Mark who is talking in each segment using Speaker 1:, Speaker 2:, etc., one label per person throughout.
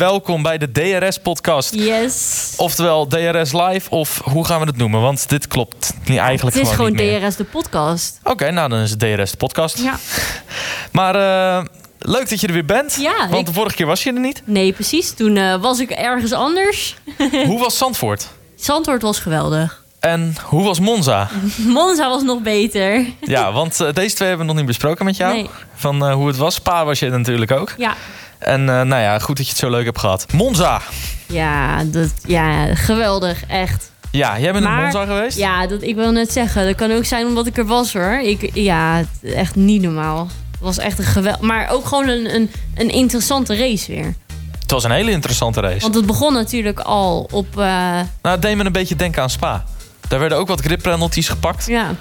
Speaker 1: Welkom bij de DRS-podcast.
Speaker 2: Yes.
Speaker 1: Oftewel DRS Live, of hoe gaan we het noemen? Want dit klopt niet eigenlijk
Speaker 2: het is gewoon,
Speaker 1: niet meer.
Speaker 2: DRS de podcast.
Speaker 1: Oké, nou dan is het DRS de podcast.
Speaker 2: Ja.
Speaker 1: Maar eh, leuk dat je er weer bent.
Speaker 2: Ja,
Speaker 1: want
Speaker 2: ik-
Speaker 1: de vorige keer was je er niet.
Speaker 2: Nee, precies. Toen eh, was ik ergens anders.
Speaker 1: Hoe was Zandvoort?
Speaker 2: Zandvoort was geweldig.
Speaker 1: En hoe was Monza?
Speaker 2: Monza was nog beter.
Speaker 1: Ja, want eh, deze twee hebben we nog niet besproken met jou.
Speaker 2: Nee.
Speaker 1: Van eh, hoe het was. Spa was je natuurlijk ook.
Speaker 2: Ja.
Speaker 1: En eh, nou ja, goed dat je het zo leuk hebt gehad. Monza!
Speaker 2: Ja, dat, ja geweldig. Echt.
Speaker 1: Ja, jij bent in
Speaker 2: Maar-
Speaker 1: Monza geweest?
Speaker 2: Ja, dat, ik wil net zeggen. Dat kan ook zijn omdat ik er was hoor. Ik, ja, het- echt niet normaal. Het was echt een geweld. Maar ook gewoon een, een, een interessante race weer.
Speaker 1: Het was een hele interessante race.
Speaker 2: Want het begon natuurlijk al op. eh,
Speaker 1: Nou, het deed me een beetje denken aan Spa. Daar werden ook wat grip penalties gepakt.
Speaker 2: ja.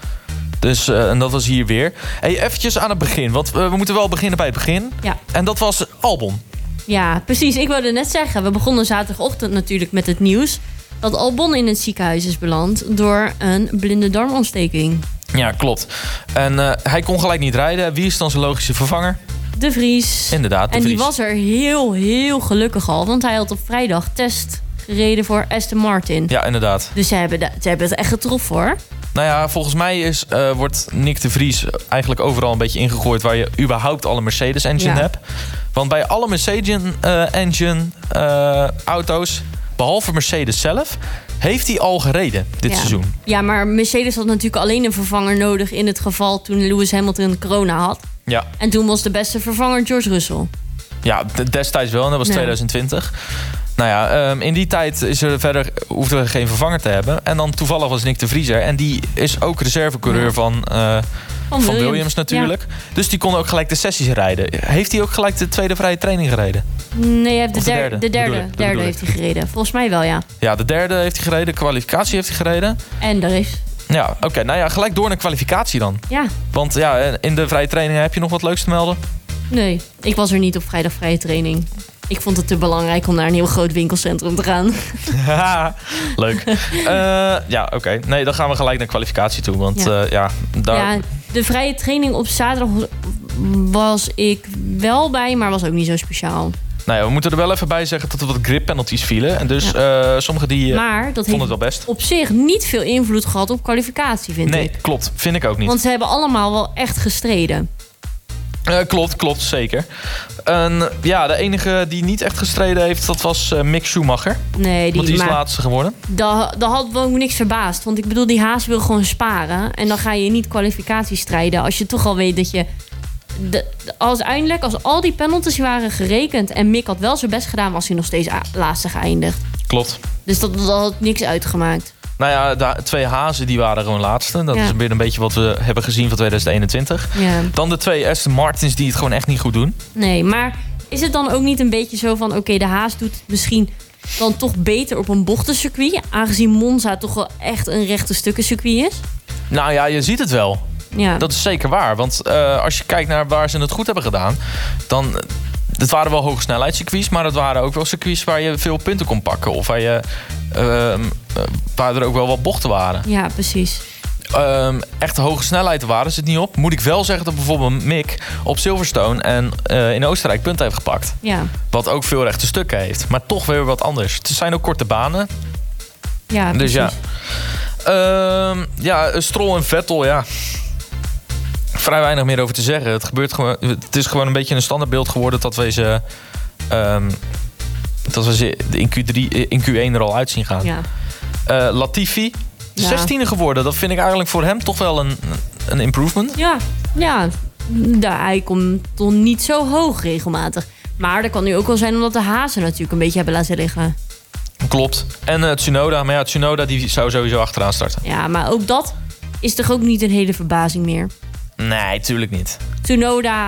Speaker 1: Dus, eh, en dat was hier weer. Hey, eventjes aan het begin, want eh, we moeten wel beginnen bij het begin.
Speaker 2: Ja.
Speaker 1: En dat was Albon.
Speaker 2: Ja, precies. Ik wilde net zeggen, we begonnen zaterdagochtend natuurlijk met het nieuws dat Albon in het ziekenhuis is beland door een blinde darmontsteking.
Speaker 1: Ja, klopt. En eh, hij kon gelijk niet rijden. Wie is dan zijn logische vervanger?
Speaker 2: De Vries.
Speaker 1: Inderdaad, de
Speaker 2: en die
Speaker 1: Vries.
Speaker 2: was er heel, heel gelukkig al, want hij had op vrijdag test gereden voor Aston Martin.
Speaker 1: Ja, inderdaad.
Speaker 2: Dus ze hebben, de- ze hebben het echt getroffen hoor.
Speaker 1: Nou ja, volgens mij is, eh, wordt Nick de Vries eigenlijk overal een beetje ingegooid... waar je überhaupt alle Mercedes-engine
Speaker 2: Ja.
Speaker 1: hebt. Want bij alle eh, Mercedes-engine-auto's, eh, behalve Mercedes zelf... heeft hij al gereden dit
Speaker 2: ja.
Speaker 1: seizoen.
Speaker 2: Ja, maar Mercedes had natuurlijk alleen een vervanger nodig in het geval toen Lewis Hamilton corona had.
Speaker 1: Ja,
Speaker 2: En toen was de beste vervanger George Russell.
Speaker 1: Ja, d- destijds wel. En dat was
Speaker 2: Ja.
Speaker 1: 2020. Nou ja, ehm, in die tijd is er verder, hoefden we geen vervanger te hebben. En dan toevallig was Nick de Vriezer. En die is ook reservecoureur
Speaker 2: Ja.
Speaker 1: van, eh, van Williams, natuurlijk. Dus die kon ook gelijk de sessies rijden. Heeft hij ook gelijk de tweede vrije training gereden?
Speaker 2: Nee, hij heeft de,
Speaker 1: Of de
Speaker 2: der-
Speaker 1: derde,
Speaker 2: de derde,
Speaker 1: bedoel ik, dat
Speaker 2: derde
Speaker 1: bedoel
Speaker 2: heeft hij gereden. Volgens mij wel, ja.
Speaker 1: Ja, de derde heeft hij gereden. De kwalificatie heeft hij gereden.
Speaker 2: En daar is.
Speaker 1: Ja, oké. nou ja, gelijk door naar kwalificatie dan.
Speaker 2: Ja,
Speaker 1: Want ja, in de vrije training heb je nog wat leuks te melden.
Speaker 2: nee. Ik was er niet op vrijdag vrije training. Ik vond het te belangrijk om naar een heel groot winkelcentrum te gaan.
Speaker 1: Haha, Leuk. Eh, ja, oké. Nee, dan gaan we gelijk naar kwalificatie toe. Want
Speaker 2: Ja.
Speaker 1: ja, ja daar...
Speaker 2: Ja, de vrije training op zaterdag was ik wel bij, maar was ook niet zo speciaal.
Speaker 1: Nou ja, we moeten er wel even bij zeggen dat er wat grip penalties vielen. En dus eh, sommige die eh,
Speaker 2: Maar dat
Speaker 1: vonden
Speaker 2: heeft
Speaker 1: het wel best.
Speaker 2: op zich niet veel invloed gehad op kwalificatie, vind
Speaker 1: Nee,
Speaker 2: ik.
Speaker 1: klopt. Vind ik ook niet.
Speaker 2: Want ze hebben allemaal wel echt gestreden.
Speaker 1: Eh, klopt, klopt, zeker. En ja, de enige die niet echt gestreden heeft, dat was eh, Mick Schumacher.
Speaker 2: Nee, die,
Speaker 1: want die is
Speaker 2: maar
Speaker 1: laatste geworden.
Speaker 2: dat, dat had me ook niks verbaasd. Want ik bedoel, die haas wil gewoon sparen. En dan ga je niet kwalificatie strijden. Als je toch al weet dat je... De, de- als eindelijk, als al die penalties waren gerekend... en Mick had wel zijn best gedaan... was hij nog steeds a- laatste geëindigd.
Speaker 1: Klopt.
Speaker 2: Dus dat, dat had niks uitgemaakt.
Speaker 1: Nou ja, de twee hazen die waren gewoon laatste. Dat
Speaker 2: Ja.
Speaker 1: is weer een beetje wat we hebben gezien van 2021.
Speaker 2: Ja.
Speaker 1: Dan de twee Aston Martins die het gewoon echt niet goed doen.
Speaker 2: Nee, maar is het dan ook niet een beetje zo van... oké, de haas doet het misschien dan toch beter op een bochtencircuit... aangezien Monza toch wel echt een rechte stukken circuit is?
Speaker 1: Nou ja, je ziet het wel.
Speaker 2: Ja.
Speaker 1: Dat is zeker waar. Want eh, als je kijkt naar waar ze het goed hebben gedaan, dan. eh, Het waren wel hoge snelheidscircuits, maar het waren ook wel circuits waar je veel punten kon pakken. Of waar, je, ehm, eh, waar er ook wel wat bochten waren.
Speaker 2: ja, precies.
Speaker 1: Ehm, echt hoge snelheden waren ze het niet op. Moet ik wel zeggen dat bijvoorbeeld Mick op Silverstone en eh, in Oostenrijk punten heeft gepakt.
Speaker 2: Ja,
Speaker 1: Wat ook veel rechte stukken heeft. Maar toch weer wat anders. Het zijn ook korte banen.
Speaker 2: ja precies.
Speaker 1: Dus ja. Ehm, ja, eh, Stroll en Vettel, ja. Vrij weinig meer over te zeggen. Het, gebeurt gewoon, het is gewoon een beetje een standaardbeeld geworden dat we ze. ehm, dat we ze in, Q3, eh, in Q1 er al uit zien gaan.
Speaker 2: Ja.
Speaker 1: Eh, Latifi,
Speaker 2: Ja.
Speaker 1: 16e geworden. Dat vind ik eigenlijk voor hem toch wel een, een improvement.
Speaker 2: Ja, ja. daar hij komt toch niet zo hoog regelmatig. Maar dat kan nu ook wel zijn omdat de hazen natuurlijk een beetje hebben laten liggen.
Speaker 1: Klopt. En eh, Tsunoda. Maar ja, Tsunoda die zou sowieso achteraan starten.
Speaker 2: Ja, maar ook dat is toch ook niet een hele verbazing meer.
Speaker 1: Nee, tuurlijk niet.
Speaker 2: Tsunoda,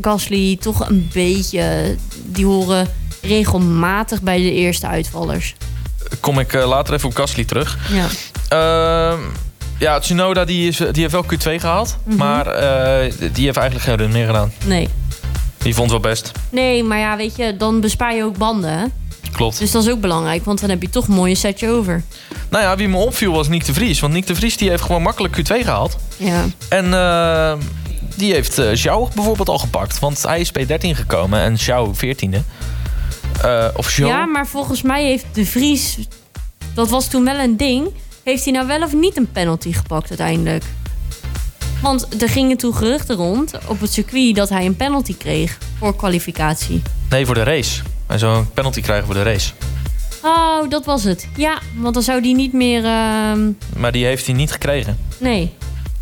Speaker 2: Gasly, toch een beetje... Die horen regelmatig bij de eerste uitvallers.
Speaker 1: Kom ik eh, later even op Gasly terug.
Speaker 2: Ja,
Speaker 1: Ehm, ja, Tsunoda die, is, die heeft wel Q2 gehaald.
Speaker 2: Mhm.
Speaker 1: Maar eh, die heeft eigenlijk geen run meer gedaan.
Speaker 2: nee.
Speaker 1: Die vond het wel best.
Speaker 2: Nee, maar ja, weet je, dan bespaar je ook banden. hè?
Speaker 1: Klopt.
Speaker 2: Dus dat is ook belangrijk, want dan heb je toch een mooie setje over.
Speaker 1: Nou ja, wie me opviel was Nick de Vries. Want Nick de Vries die heeft gewoon makkelijk Q2 gehaald.
Speaker 2: Ja,
Speaker 1: En ehm, die heeft eh Zhao bijvoorbeeld al gepakt. Want hij is P13 gekomen en Zhao 14e. eh, of show.
Speaker 2: Ja, maar volgens mij heeft De Vries, dat was toen wel een ding, heeft hij nou wel of niet een penalty gepakt uiteindelijk? Want er gingen toen geruchten rond op het circuit dat hij een penalty kreeg voor kwalificatie.
Speaker 1: Nee, voor de race. Hij zou een penalty krijgen voor de race.
Speaker 2: Oh, dat was het. Ja, want dan zou die niet meer. ehm,
Speaker 1: Maar die heeft hij niet gekregen.
Speaker 2: Nee,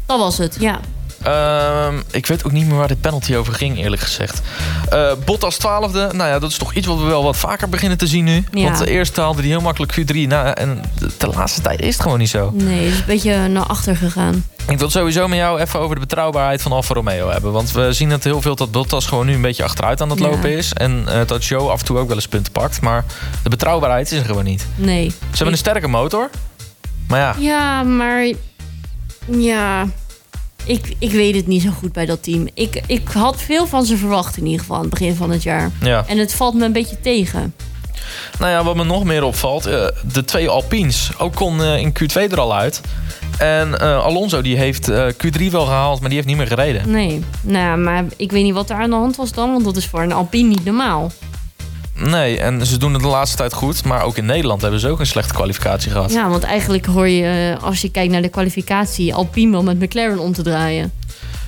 Speaker 2: dat was het. Ja.
Speaker 1: Ehm, ik weet ook niet meer waar de penalty over ging, eerlijk gezegd. Eh Bottas 12e. Nou ja, dat is toch iets wat we wel wat vaker beginnen te zien nu.
Speaker 2: Ja.
Speaker 1: Want de eerste haalde hij heel makkelijk Q3. Nou, en de, de laatste tijd is het gewoon niet zo.
Speaker 2: Nee, is een beetje naar achter gegaan.
Speaker 1: Ik wil het sowieso met jou even over de betrouwbaarheid van Alfa Romeo hebben. Want we zien het heel veel dat Bottas gewoon nu een beetje achteruit aan het
Speaker 2: Ja.
Speaker 1: lopen is. En eh, dat Joe af en toe ook wel eens punten pakt. Maar de betrouwbaarheid is er gewoon niet.
Speaker 2: Nee.
Speaker 1: Ze hebben een sterke motor. Maar ja,
Speaker 2: Ja, maar. Ja. Ik, ik weet het niet zo goed bij dat team. Ik, ik had veel van ze verwacht in ieder geval aan het begin van het jaar.
Speaker 1: ja.
Speaker 2: En het valt me een beetje tegen.
Speaker 1: Nou ja, wat me nog meer opvalt, eh, de twee Alpines. Ook kon eh, in Q2 er al uit. En eh, Alonso die heeft eh, Q3 wel gehaald, maar die heeft niet meer gereden.
Speaker 2: Nee. Nou, ja, maar ik weet niet wat er aan de hand was dan, want dat is voor een Alpine niet normaal.
Speaker 1: Nee, en ze doen het de laatste tijd goed. Maar ook in Nederland hebben ze ook een slechte kwalificatie gehad.
Speaker 2: Ja, want eigenlijk hoor je, eh, als je kijkt naar de kwalificatie, Alpine wel met McLaren om te draaien.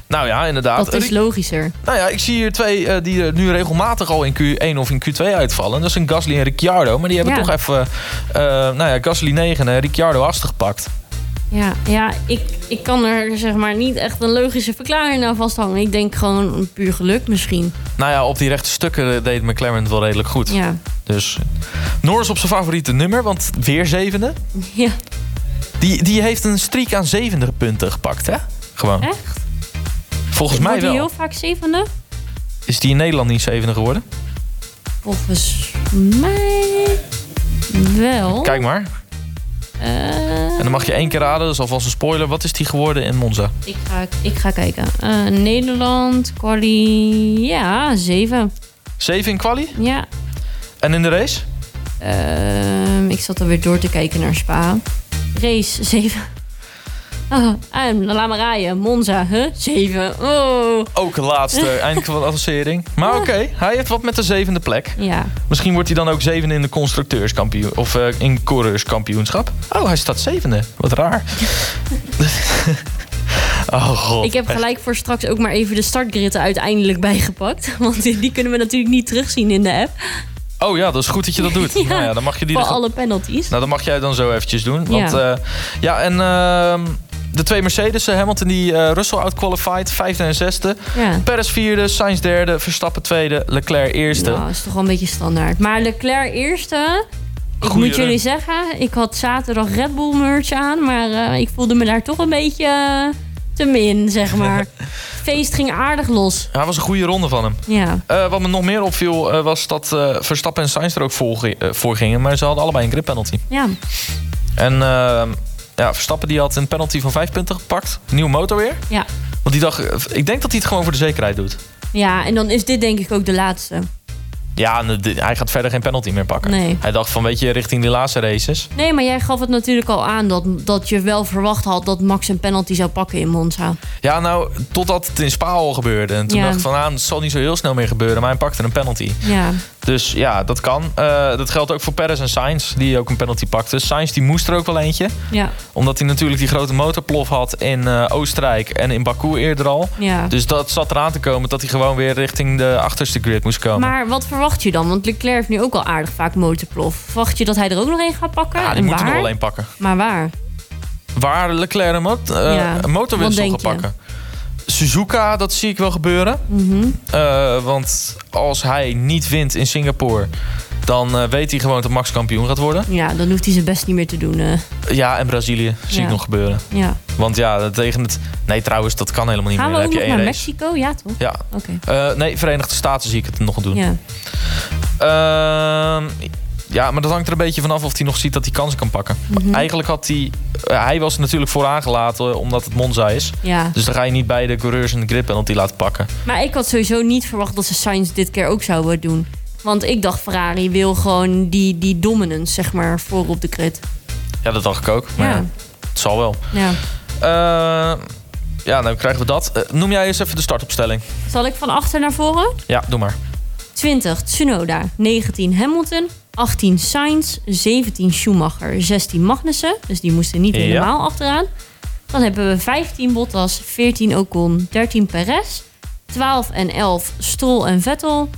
Speaker 1: Nou ja, inderdaad.
Speaker 2: Dat is
Speaker 1: Ik-
Speaker 2: logischer.
Speaker 1: Nou ja, ik zie hier twee eh, die er nu regelmatig al in Q1 of in Q2 uitvallen. Dat zijn Gasly en Ricciardo. Maar die hebben
Speaker 2: Ja.
Speaker 1: toch even, eh, nou ja, Gasly 9 en Ricciardo achter gepakt.
Speaker 2: Ja, ja ik, ik kan er zeg maar niet echt een logische verklaring aan vasthangen. Ik denk gewoon een puur geluk misschien.
Speaker 1: Nou ja, op die rechte stukken eh, deed McLaren het wel redelijk goed.
Speaker 2: Ja.
Speaker 1: Dus Norris op zijn favoriete nummer, want weer zevende.
Speaker 2: ja.
Speaker 1: Die, die heeft een streak aan 70 punten gepakt, hè? Gewoon.
Speaker 2: Echt?
Speaker 1: Volgens mij
Speaker 2: Wordt hij
Speaker 1: wel.
Speaker 2: heel vaak zevende?
Speaker 1: Is die in Nederland niet zevende geworden?
Speaker 2: Oh. Volgens mij wel.
Speaker 1: Kijk maar.
Speaker 2: Eh,
Speaker 1: En dan mag je één keer raden, dat is alvast een spoiler. Wat is die geworden in Monza?
Speaker 2: ik, ga, ik ga kijken. Eh, Nederland, quali... Ja, zeven.
Speaker 1: Zeven in quali?
Speaker 2: Ja.
Speaker 1: En in de race?
Speaker 2: Ehm, ik zat alweer door te kijken naar Spa. Race, zeven. Ah, en laat maar rijden. Monza, huh? Zeven. Oh.
Speaker 1: Ook laatste eindklassering. Maar oké, hij heeft wat met de zevende plek.
Speaker 2: Ja.
Speaker 1: Misschien wordt hij dan ook zevende in de constructeurskampioen... of eh, in coureurskampioenschap. Oh, hij staat zevende. Wat raar. oh god.
Speaker 2: Ik heb gelijk voor straks ook maar even de startgritten uiteindelijk bijgepakt. Want die, die kunnen we natuurlijk niet terugzien in de app.
Speaker 1: Oh ja, dat is goed dat je dat doet.
Speaker 2: Ja,
Speaker 1: nou ja, dan mag je die
Speaker 2: Voor
Speaker 1: er-
Speaker 2: alle penalties.
Speaker 1: Nou, dat mag jij dan zo eventjes doen. Want
Speaker 2: Ja.
Speaker 1: ja, ja en ehm, de twee Mercedes, eh, Hamilton die eh Russell outqualified, vijfde en zesde.
Speaker 2: Ja.
Speaker 1: Perez vierde, Sainz derde, Verstappen tweede, Leclerc eerste.
Speaker 2: Nou, is toch wel een beetje standaard. Maar Leclerc eerste. Ik
Speaker 1: Goeie
Speaker 2: moet
Speaker 1: run.
Speaker 2: jullie zeggen, ik had zaterdag Red Bull merch aan. Maar eh, ik voelde me daar toch een beetje eh, te min, zeg maar. Feest ging aardig los.
Speaker 1: Ja, was een goede ronde van hem.
Speaker 2: Ja.
Speaker 1: Eh, wat me nog meer opviel eh, was dat eh, Verstappen en Sainz er ook voor, ge- eh, voor gingen. Maar ze hadden allebei een grip penalty.
Speaker 2: ja.
Speaker 1: En ehm, ja, Verstappen die had een penalty van vijf punten gepakt. Nieuwe motor weer.
Speaker 2: Ja.
Speaker 1: Want die dacht, eh, ik denk dat hij het gewoon voor de zekerheid doet.
Speaker 2: ja, en dan is dit denk ik ook de laatste.
Speaker 1: Ja, en, eh, dit- hij gaat verder geen penalty meer pakken.
Speaker 2: Nee.
Speaker 1: Hij dacht van, weet je, richting die laatste races.
Speaker 2: Nee, maar jij gaf het natuurlijk al aan dat, dat je wel verwacht had dat Max een penalty zou pakken in Monza.
Speaker 1: Ja, nou, totdat het in Spa al gebeurde. En toen
Speaker 2: Ja.
Speaker 1: dacht ik van, ah, het zal niet zo heel snel meer gebeuren. Maar hij pakte een penalty.
Speaker 2: Ja,
Speaker 1: Dus ja, dat kan. Eh, dat geldt ook voor Perez en Sainz, die ook een penalty pakte. Sainz die moest er ook wel eentje.
Speaker 2: ja,
Speaker 1: Omdat hij natuurlijk die grote motorplof had in eh, Oostenrijk en in Baku eerder al.
Speaker 2: ja.
Speaker 1: Dus dat zat eraan te komen dat hij gewoon weer richting de achterste grid moest komen.
Speaker 2: Maar wat verwacht je dan? Want Leclerc heeft nu ook al aardig vaak motorplof. Verwacht je dat hij er ook nog een gaat pakken?
Speaker 1: ja, die
Speaker 2: en
Speaker 1: moet
Speaker 2: waar?
Speaker 1: er nog wel een pakken.
Speaker 2: Maar waar?
Speaker 1: Waar Leclerc een, mot- eh,
Speaker 2: Ja,
Speaker 1: een motorwissel
Speaker 2: wat
Speaker 1: gaat
Speaker 2: denk je?
Speaker 1: pakken. Suzuka, dat zie ik wel gebeuren.
Speaker 2: Mhm.
Speaker 1: Eh, want als hij niet wint in Singapore, dan eh, weet hij gewoon dat Max kampioen gaat worden.
Speaker 2: Ja, dan hoeft hij zijn best niet meer te doen. eh.
Speaker 1: Ja, en Brazilië zie
Speaker 2: Ja.
Speaker 1: ik nog gebeuren.
Speaker 2: ja.
Speaker 1: Want ja, tegen het. Nee, trouwens, dat kan helemaal niet
Speaker 2: Gaan we
Speaker 1: meer.
Speaker 2: ook nog
Speaker 1: Dan
Speaker 2: naar
Speaker 1: heb je één race.
Speaker 2: Mexico? Ja, toch?
Speaker 1: Ja.
Speaker 2: Oké.
Speaker 1: Eh, nee, Verenigde Staten zie ik het nog doen.
Speaker 2: Ja.
Speaker 1: Ehm, ja, maar dat hangt er een beetje vanaf of hij nog ziet dat hij kansen kan pakken.
Speaker 2: Mhm.
Speaker 1: Eigenlijk had hij. eh, hij was natuurlijk vooraan gelaten omdat het Monza is.
Speaker 2: ja.
Speaker 1: Dus dan ga je niet beide coureurs in de grip penalty laten pakken.
Speaker 2: Maar ik had sowieso niet verwacht dat ze Sainz dit keer ook zouden doen. Want ik dacht Ferrari wil gewoon die, die dominance, zeg maar, voor op de crit.
Speaker 1: Ja, dat dacht ik ook. Maar ja,
Speaker 2: Ja.
Speaker 1: het zal wel.
Speaker 2: Ja.
Speaker 1: Ehm, Eh, ja, dan krijgen we dat. Eh, noem jij eens even de startopstelling.
Speaker 2: Zal ik van achter naar voren?
Speaker 1: Ja, doe maar.
Speaker 2: 20 Tsunoda, 19 Hamilton, 18 Sainz, 17 Schumacher, 16 Magnussen. Dus die moesten niet
Speaker 1: Ja.
Speaker 2: helemaal achteraan. Dan hebben we 15 Bottas, 14 Ocon, 13 Perez, 12 en 11 Stroll en Vettel.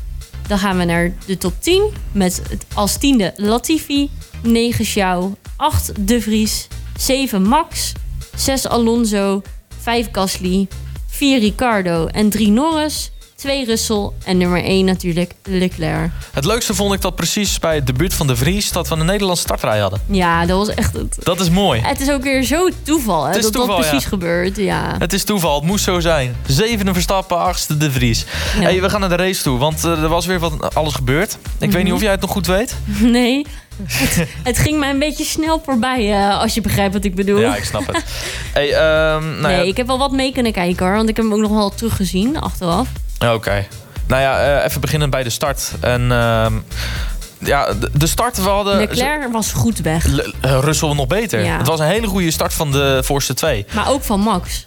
Speaker 2: Dan gaan we naar de top 10 met het- als tiende Latifi, 9 Xiao, 8 De Vries, 7 Max, 6 Alonso, 5 Gasly, 4 Ricardo en 3 Norris, 2 Russell en nummer 1 natuurlijk Leclerc.
Speaker 1: Het leukste vond ik dat precies bij het debuut van De Vries... dat we een Nederlandse startrij hadden.
Speaker 2: Ja, dat was echt het.
Speaker 1: Dat is mooi.
Speaker 2: Het is ook weer zo toeval hè,
Speaker 1: Het is
Speaker 2: dat
Speaker 1: toeval,
Speaker 2: dat
Speaker 1: ja.
Speaker 2: precies gebeurt. Ja.
Speaker 1: Het is toeval, het moest zo zijn. Zevende Verstappen, achtste De Vries. Hey, we gaan naar de race toe, want eh, er was weer wat alles gebeurd. Ik
Speaker 2: Mhm.
Speaker 1: weet niet of jij het nog goed weet.
Speaker 2: Nee, het, het ging mij een beetje snel voorbij eh, als je begrijpt wat ik bedoel.
Speaker 1: Ja, ik snap het. Hey, ehm, nou ja,
Speaker 2: nee, ik heb wel wat mee kunnen kijken hoor, want ik heb hem ook nog wel teruggezien achteraf.
Speaker 1: Oké. Nou ja, eh, even beginnen bij de start. En ehm, ja, de, de start, we hadden...
Speaker 2: Leclerc was goed weg,
Speaker 1: Le- eh, Russell nog beter.
Speaker 2: Ja.
Speaker 1: Het was een hele goede start van de voorste twee.
Speaker 2: maar ook van Max.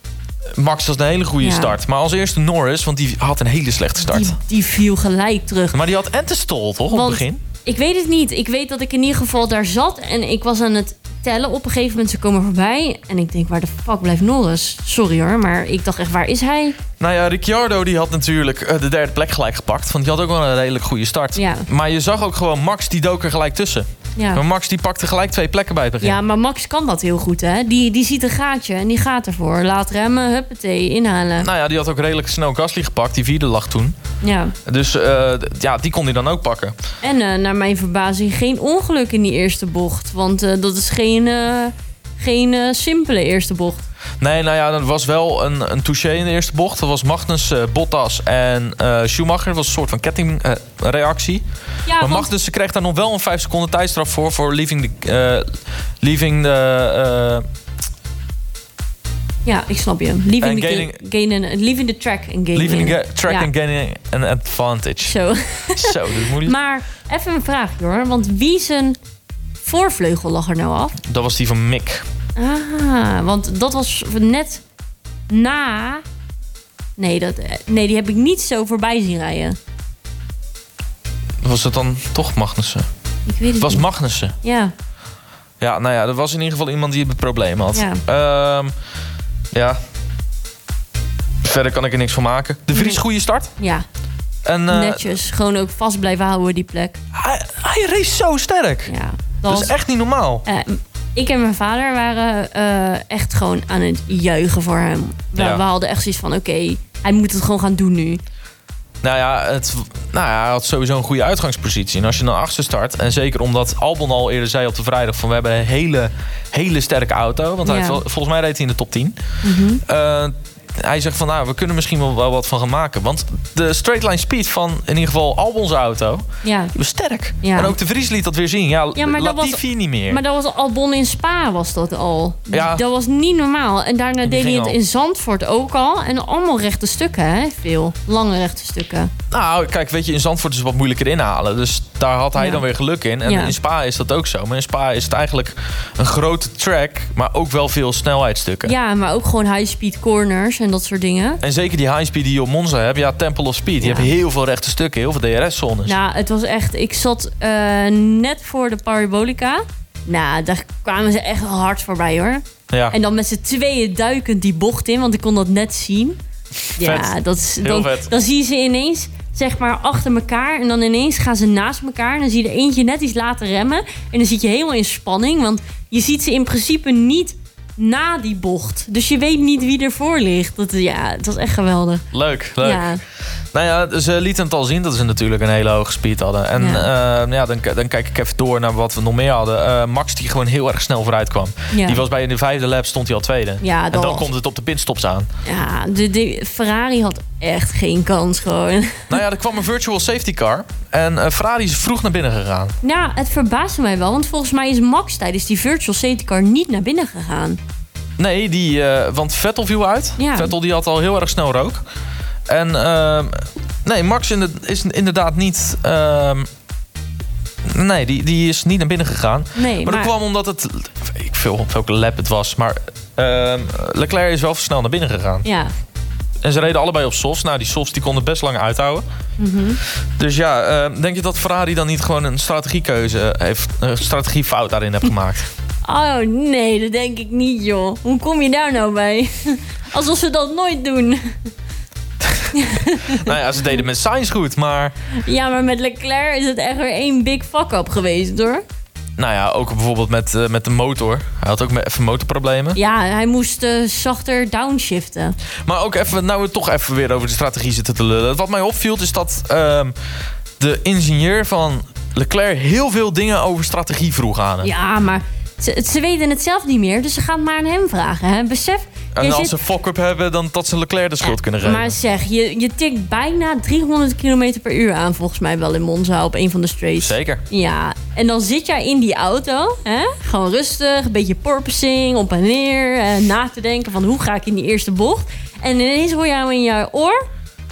Speaker 1: Max was een hele goede
Speaker 2: Ja.
Speaker 1: start. Maar als eerste Norris, want die had een hele slechte start.
Speaker 2: Die, die viel gelijk terug.
Speaker 1: Maar die had en te stol, toch, op
Speaker 2: Want-
Speaker 1: het begin?
Speaker 2: Ik weet het niet. Ik weet dat ik in ieder geval daar zat en ik was aan het tellen. Op een gegeven moment ze komen voorbij en ik denk waar de fuck blijft Norris? Sorry hoor, maar ik dacht echt waar is hij?
Speaker 1: Nou ja, Ricciardo die had natuurlijk eh, de derde plek gelijk gepakt. Want die had ook wel een redelijk goede start.
Speaker 2: Ja.
Speaker 1: Maar je zag ook gewoon Max, die dook er gelijk tussen. Maar
Speaker 2: Ja.
Speaker 1: Max die pakte gelijk twee plekken bij het begin.
Speaker 2: Ja, maar Max kan dat heel goed, hè? Die, die ziet een gaatje en die gaat ervoor. Laat remmen, huppatee, inhalen.
Speaker 1: Nou ja, die had ook redelijk snel Gasly gepakt. Die vierde lag toen.
Speaker 2: Ja.
Speaker 1: Dus eh, d- ja, die kon hij dan ook pakken.
Speaker 2: En eh, naar mijn verbazing geen ongeluk in die eerste bocht. Want eh, dat is geen, eh, geen eh, simpele eerste bocht.
Speaker 1: Nee, nou ja, dat was wel een, een touché in de eerste bocht. Dat was Magnus, eh, Bottas en eh, Schumacher. Dat was een soort van kettingreactie.
Speaker 2: Ja,
Speaker 1: maar
Speaker 2: want-
Speaker 1: Magnus kreeg daar nog wel een 5 seconden tijdstraf voor. Voor leaving the... eh, leaving the eh,
Speaker 2: ja ik snap je. Leaving,
Speaker 1: En
Speaker 2: the,
Speaker 1: gaining-
Speaker 2: ga- gain and- leaving the track en gaining.
Speaker 1: leaving the ga- track
Speaker 2: Ja.
Speaker 1: and gaining an advantage.
Speaker 2: Zo.
Speaker 1: Zo, dat is moeilijk.
Speaker 2: Maar even een vraag hoor. Want wie zijn voorvleugel lag er nou af?
Speaker 1: Dat was die van Mick.
Speaker 2: Ah, want dat was net na... Nee, dat, eh, nee, die heb ik niet zo voorbij zien rijden.
Speaker 1: Was het dan toch Magnussen?
Speaker 2: Ik weet het
Speaker 1: Het was
Speaker 2: niet.
Speaker 1: Magnussen.
Speaker 2: Ja,
Speaker 1: Ja, nou ja, er was in ieder geval iemand die het probleem had.
Speaker 2: Ja.
Speaker 1: Ehm, ja. Verder kan ik er niks van maken. De Vries,
Speaker 2: Nee.
Speaker 1: goede start.
Speaker 2: ja
Speaker 1: En, eh,
Speaker 2: netjes. Gewoon ook vast blijven houden die plek.
Speaker 1: Hij, hij race zo sterk.
Speaker 2: Ja, dat,
Speaker 1: Dat
Speaker 2: was
Speaker 1: is echt niet normaal.
Speaker 2: Eh, ik en mijn vader waren eh, echt gewoon aan het juichen voor hem. We,
Speaker 1: Ja.
Speaker 2: we hadden echt zoiets van, oké, hij moet het gewoon gaan doen nu.
Speaker 1: Nou ja, het, nou ja, hij had sowieso een goede uitgangspositie. En als je dan achter start, en zeker omdat Albon al eerder zei op de vrijdag... van we hebben een hele, hele sterke auto. Want hij
Speaker 2: Ja. Mhm.
Speaker 1: heeft wel- volgens mij reed hij in de top 10. Eh, hij zegt van, nou, we kunnen misschien wel, wel wat van gaan maken. Want de straight line speed van in ieder geval Albon's auto...
Speaker 2: Ja.
Speaker 1: die was sterk.
Speaker 2: Ja.
Speaker 1: En ook de Vries liet dat weer zien. Ja,
Speaker 2: Ja, maar dat was-
Speaker 1: Latifi niet meer.
Speaker 2: Maar dat was Albon in Spa, was dat al.
Speaker 1: Ja.
Speaker 2: Dat was niet normaal. En daarna deed hij
Speaker 1: ging
Speaker 2: het
Speaker 1: al.
Speaker 2: in Zandvoort ook al. En allemaal rechte stukken, hè? Veel. Lange rechte stukken.
Speaker 1: Nou, kijk, weet je, in Zandvoort is het wat moeilijker inhalen. Dus daar had hij
Speaker 2: Ja.
Speaker 1: dan weer geluk in. En
Speaker 2: Ja.
Speaker 1: in Spa is dat ook zo. Maar in Spa is het eigenlijk een grote track, maar ook wel veel snelheidsstukken.
Speaker 2: Ja, maar ook gewoon high-speed corners en dat soort dingen.
Speaker 1: En zeker die high speed die je op Monza hebt, ja, Temple of Speed. Je
Speaker 2: Ja.
Speaker 1: hebt heel veel rechte stukken, heel veel DRS-zones.
Speaker 2: Nou, het was echt... Ik zat eh, net voor de Parabolica. Nou, daar kwamen ze echt hard voorbij, hoor.
Speaker 1: ja.
Speaker 2: En dan met z'n tweeën duikend die bocht in, want ik kon dat net zien. Ja, dat is,
Speaker 1: Heel
Speaker 2: dan,
Speaker 1: vet.
Speaker 2: dan zie je ze ineens, zeg maar, achter elkaar. En dan ineens gaan ze naast elkaar. En dan zie je de eentje net iets laten remmen. En dan zit je helemaal in spanning, want je ziet ze in principe niet na die bocht. Dus je weet niet wie ervoor ligt. Dat, ja, het was echt geweldig.
Speaker 1: Leuk, leuk.
Speaker 2: Ja,
Speaker 1: Nou ja, ze lieten het al zien dat ze natuurlijk een hele hoge speed hadden. En ja. ja, dan, k- dan kijk ik even door naar wat we nog meer hadden. Eh, Max die gewoon heel erg snel vooruit kwam.
Speaker 2: Ja.
Speaker 1: Die was bij in de vijfde lap, stond hij al tweede.
Speaker 2: Ja,
Speaker 1: en dan
Speaker 2: dat was-
Speaker 1: komt het op de pitstops aan.
Speaker 2: ja de, de Ferrari had echt geen kans gewoon.
Speaker 1: Nou ja, er kwam een virtual safety car. En eh, Ferrari is vroeg naar binnen gegaan.
Speaker 2: Nou, het verbaasde mij wel, want volgens mij is Max tijdens die virtual safety car niet naar binnen gegaan.
Speaker 1: Nee, die, eh, want Vettel viel uit.
Speaker 2: Ja.
Speaker 1: Vettel die had al heel erg snel rook. En ehm, nee, Max inder- is inderdaad niet... ehm, nee, die, die is niet naar binnen gegaan.
Speaker 2: Nee,
Speaker 1: maar dat kwam omdat het... Ik veel op welke lap het was, maar... ehm, Leclerc is wel snel naar binnen gegaan.
Speaker 2: Ja,
Speaker 1: En ze reden allebei op softs. Nou, die softs die konden best lang uithouden.
Speaker 2: Mhm.
Speaker 1: Dus ja, eh, denk je dat Ferrari dan niet gewoon een strategiekeuze heeft, een strategiefout daarin heeft gemaakt?
Speaker 2: Oh nee, dat denk ik niet, joh. Hoe kom je daar nou bij? Alsof ze dat nooit doen.
Speaker 1: nou ja, ze deden met Sainz goed, maar
Speaker 2: Ja, maar met Leclerc is het echt weer één big fuck-up geweest, hoor.
Speaker 1: nou ja, ook bijvoorbeeld met, eh, met de motor. Hij had ook met- even motorproblemen.
Speaker 2: Ja, hij moest eh, zachter downshiften.
Speaker 1: Maar ook even, nou we toch even weer over de strategie zitten te lullen. Wat mij opviel is dat ehm, de ingenieur van Leclerc heel veel dingen over strategie vroeg aan hem.
Speaker 2: Ja, maar ze, ze weten het zelf niet meer, dus ze gaan het maar aan hem vragen. Hè. Besef,
Speaker 1: En
Speaker 2: je
Speaker 1: als
Speaker 2: zit-
Speaker 1: ze fuck-up hebben, dan dat ze Leclerc de schuld kunnen geven.
Speaker 2: Maar zeg, je, je tikt bijna 300 km per uur aan, volgens mij wel in Monza op een van de straights.
Speaker 1: Zeker.
Speaker 2: Ja, en dan zit jij in die auto, hè? gewoon rustig, een beetje porpoising, op en neer, eh, na te denken van hoe ga ik in die eerste bocht. En ineens hoor jij in jouw oor,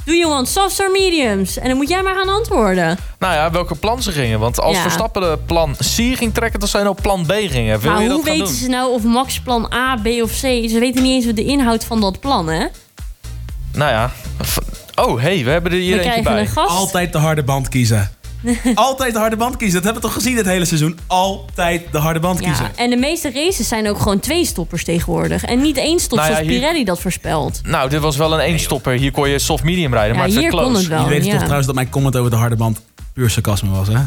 Speaker 2: do you want softs or mediums? En dan moet jij maar gaan antwoorden.
Speaker 1: Nou ja, welke plan ze gingen. Want als
Speaker 2: Ja.
Speaker 1: Verstappen de plan C ging trekken, dan zijn ook plan B gingen. Wil
Speaker 2: maar
Speaker 1: je
Speaker 2: hoe
Speaker 1: dat gaan
Speaker 2: weten
Speaker 1: doen?
Speaker 2: ze nou of Max plan A, B of C, ze weten niet eens wat de inhoud van dat plan, hè?
Speaker 1: Nou ja. v- Oh, hey, we hebben er hier
Speaker 2: We
Speaker 1: eentje
Speaker 2: krijgen
Speaker 1: bij.
Speaker 2: een gast.
Speaker 3: Altijd de harde band kiezen. Altijd de harde band kiezen. Dat hebben we toch gezien dit hele seizoen? Altijd de harde band kiezen.
Speaker 2: Ja, Oh, en de meeste races zijn ook gewoon twee stoppers tegenwoordig. En niet één stop
Speaker 1: Nou ja,
Speaker 2: zoals
Speaker 1: hier-
Speaker 2: Pirelli dat voorspelt.
Speaker 1: Nou, dit was wel een eenstopper. Hier kon je soft medium rijden,
Speaker 2: Ja,
Speaker 1: maar het
Speaker 2: hier
Speaker 1: werd close.
Speaker 2: kon het wel.
Speaker 3: Je weet
Speaker 2: ja.
Speaker 3: toch trouwens dat mijn comment over de harde band puur sarcasme was, hè?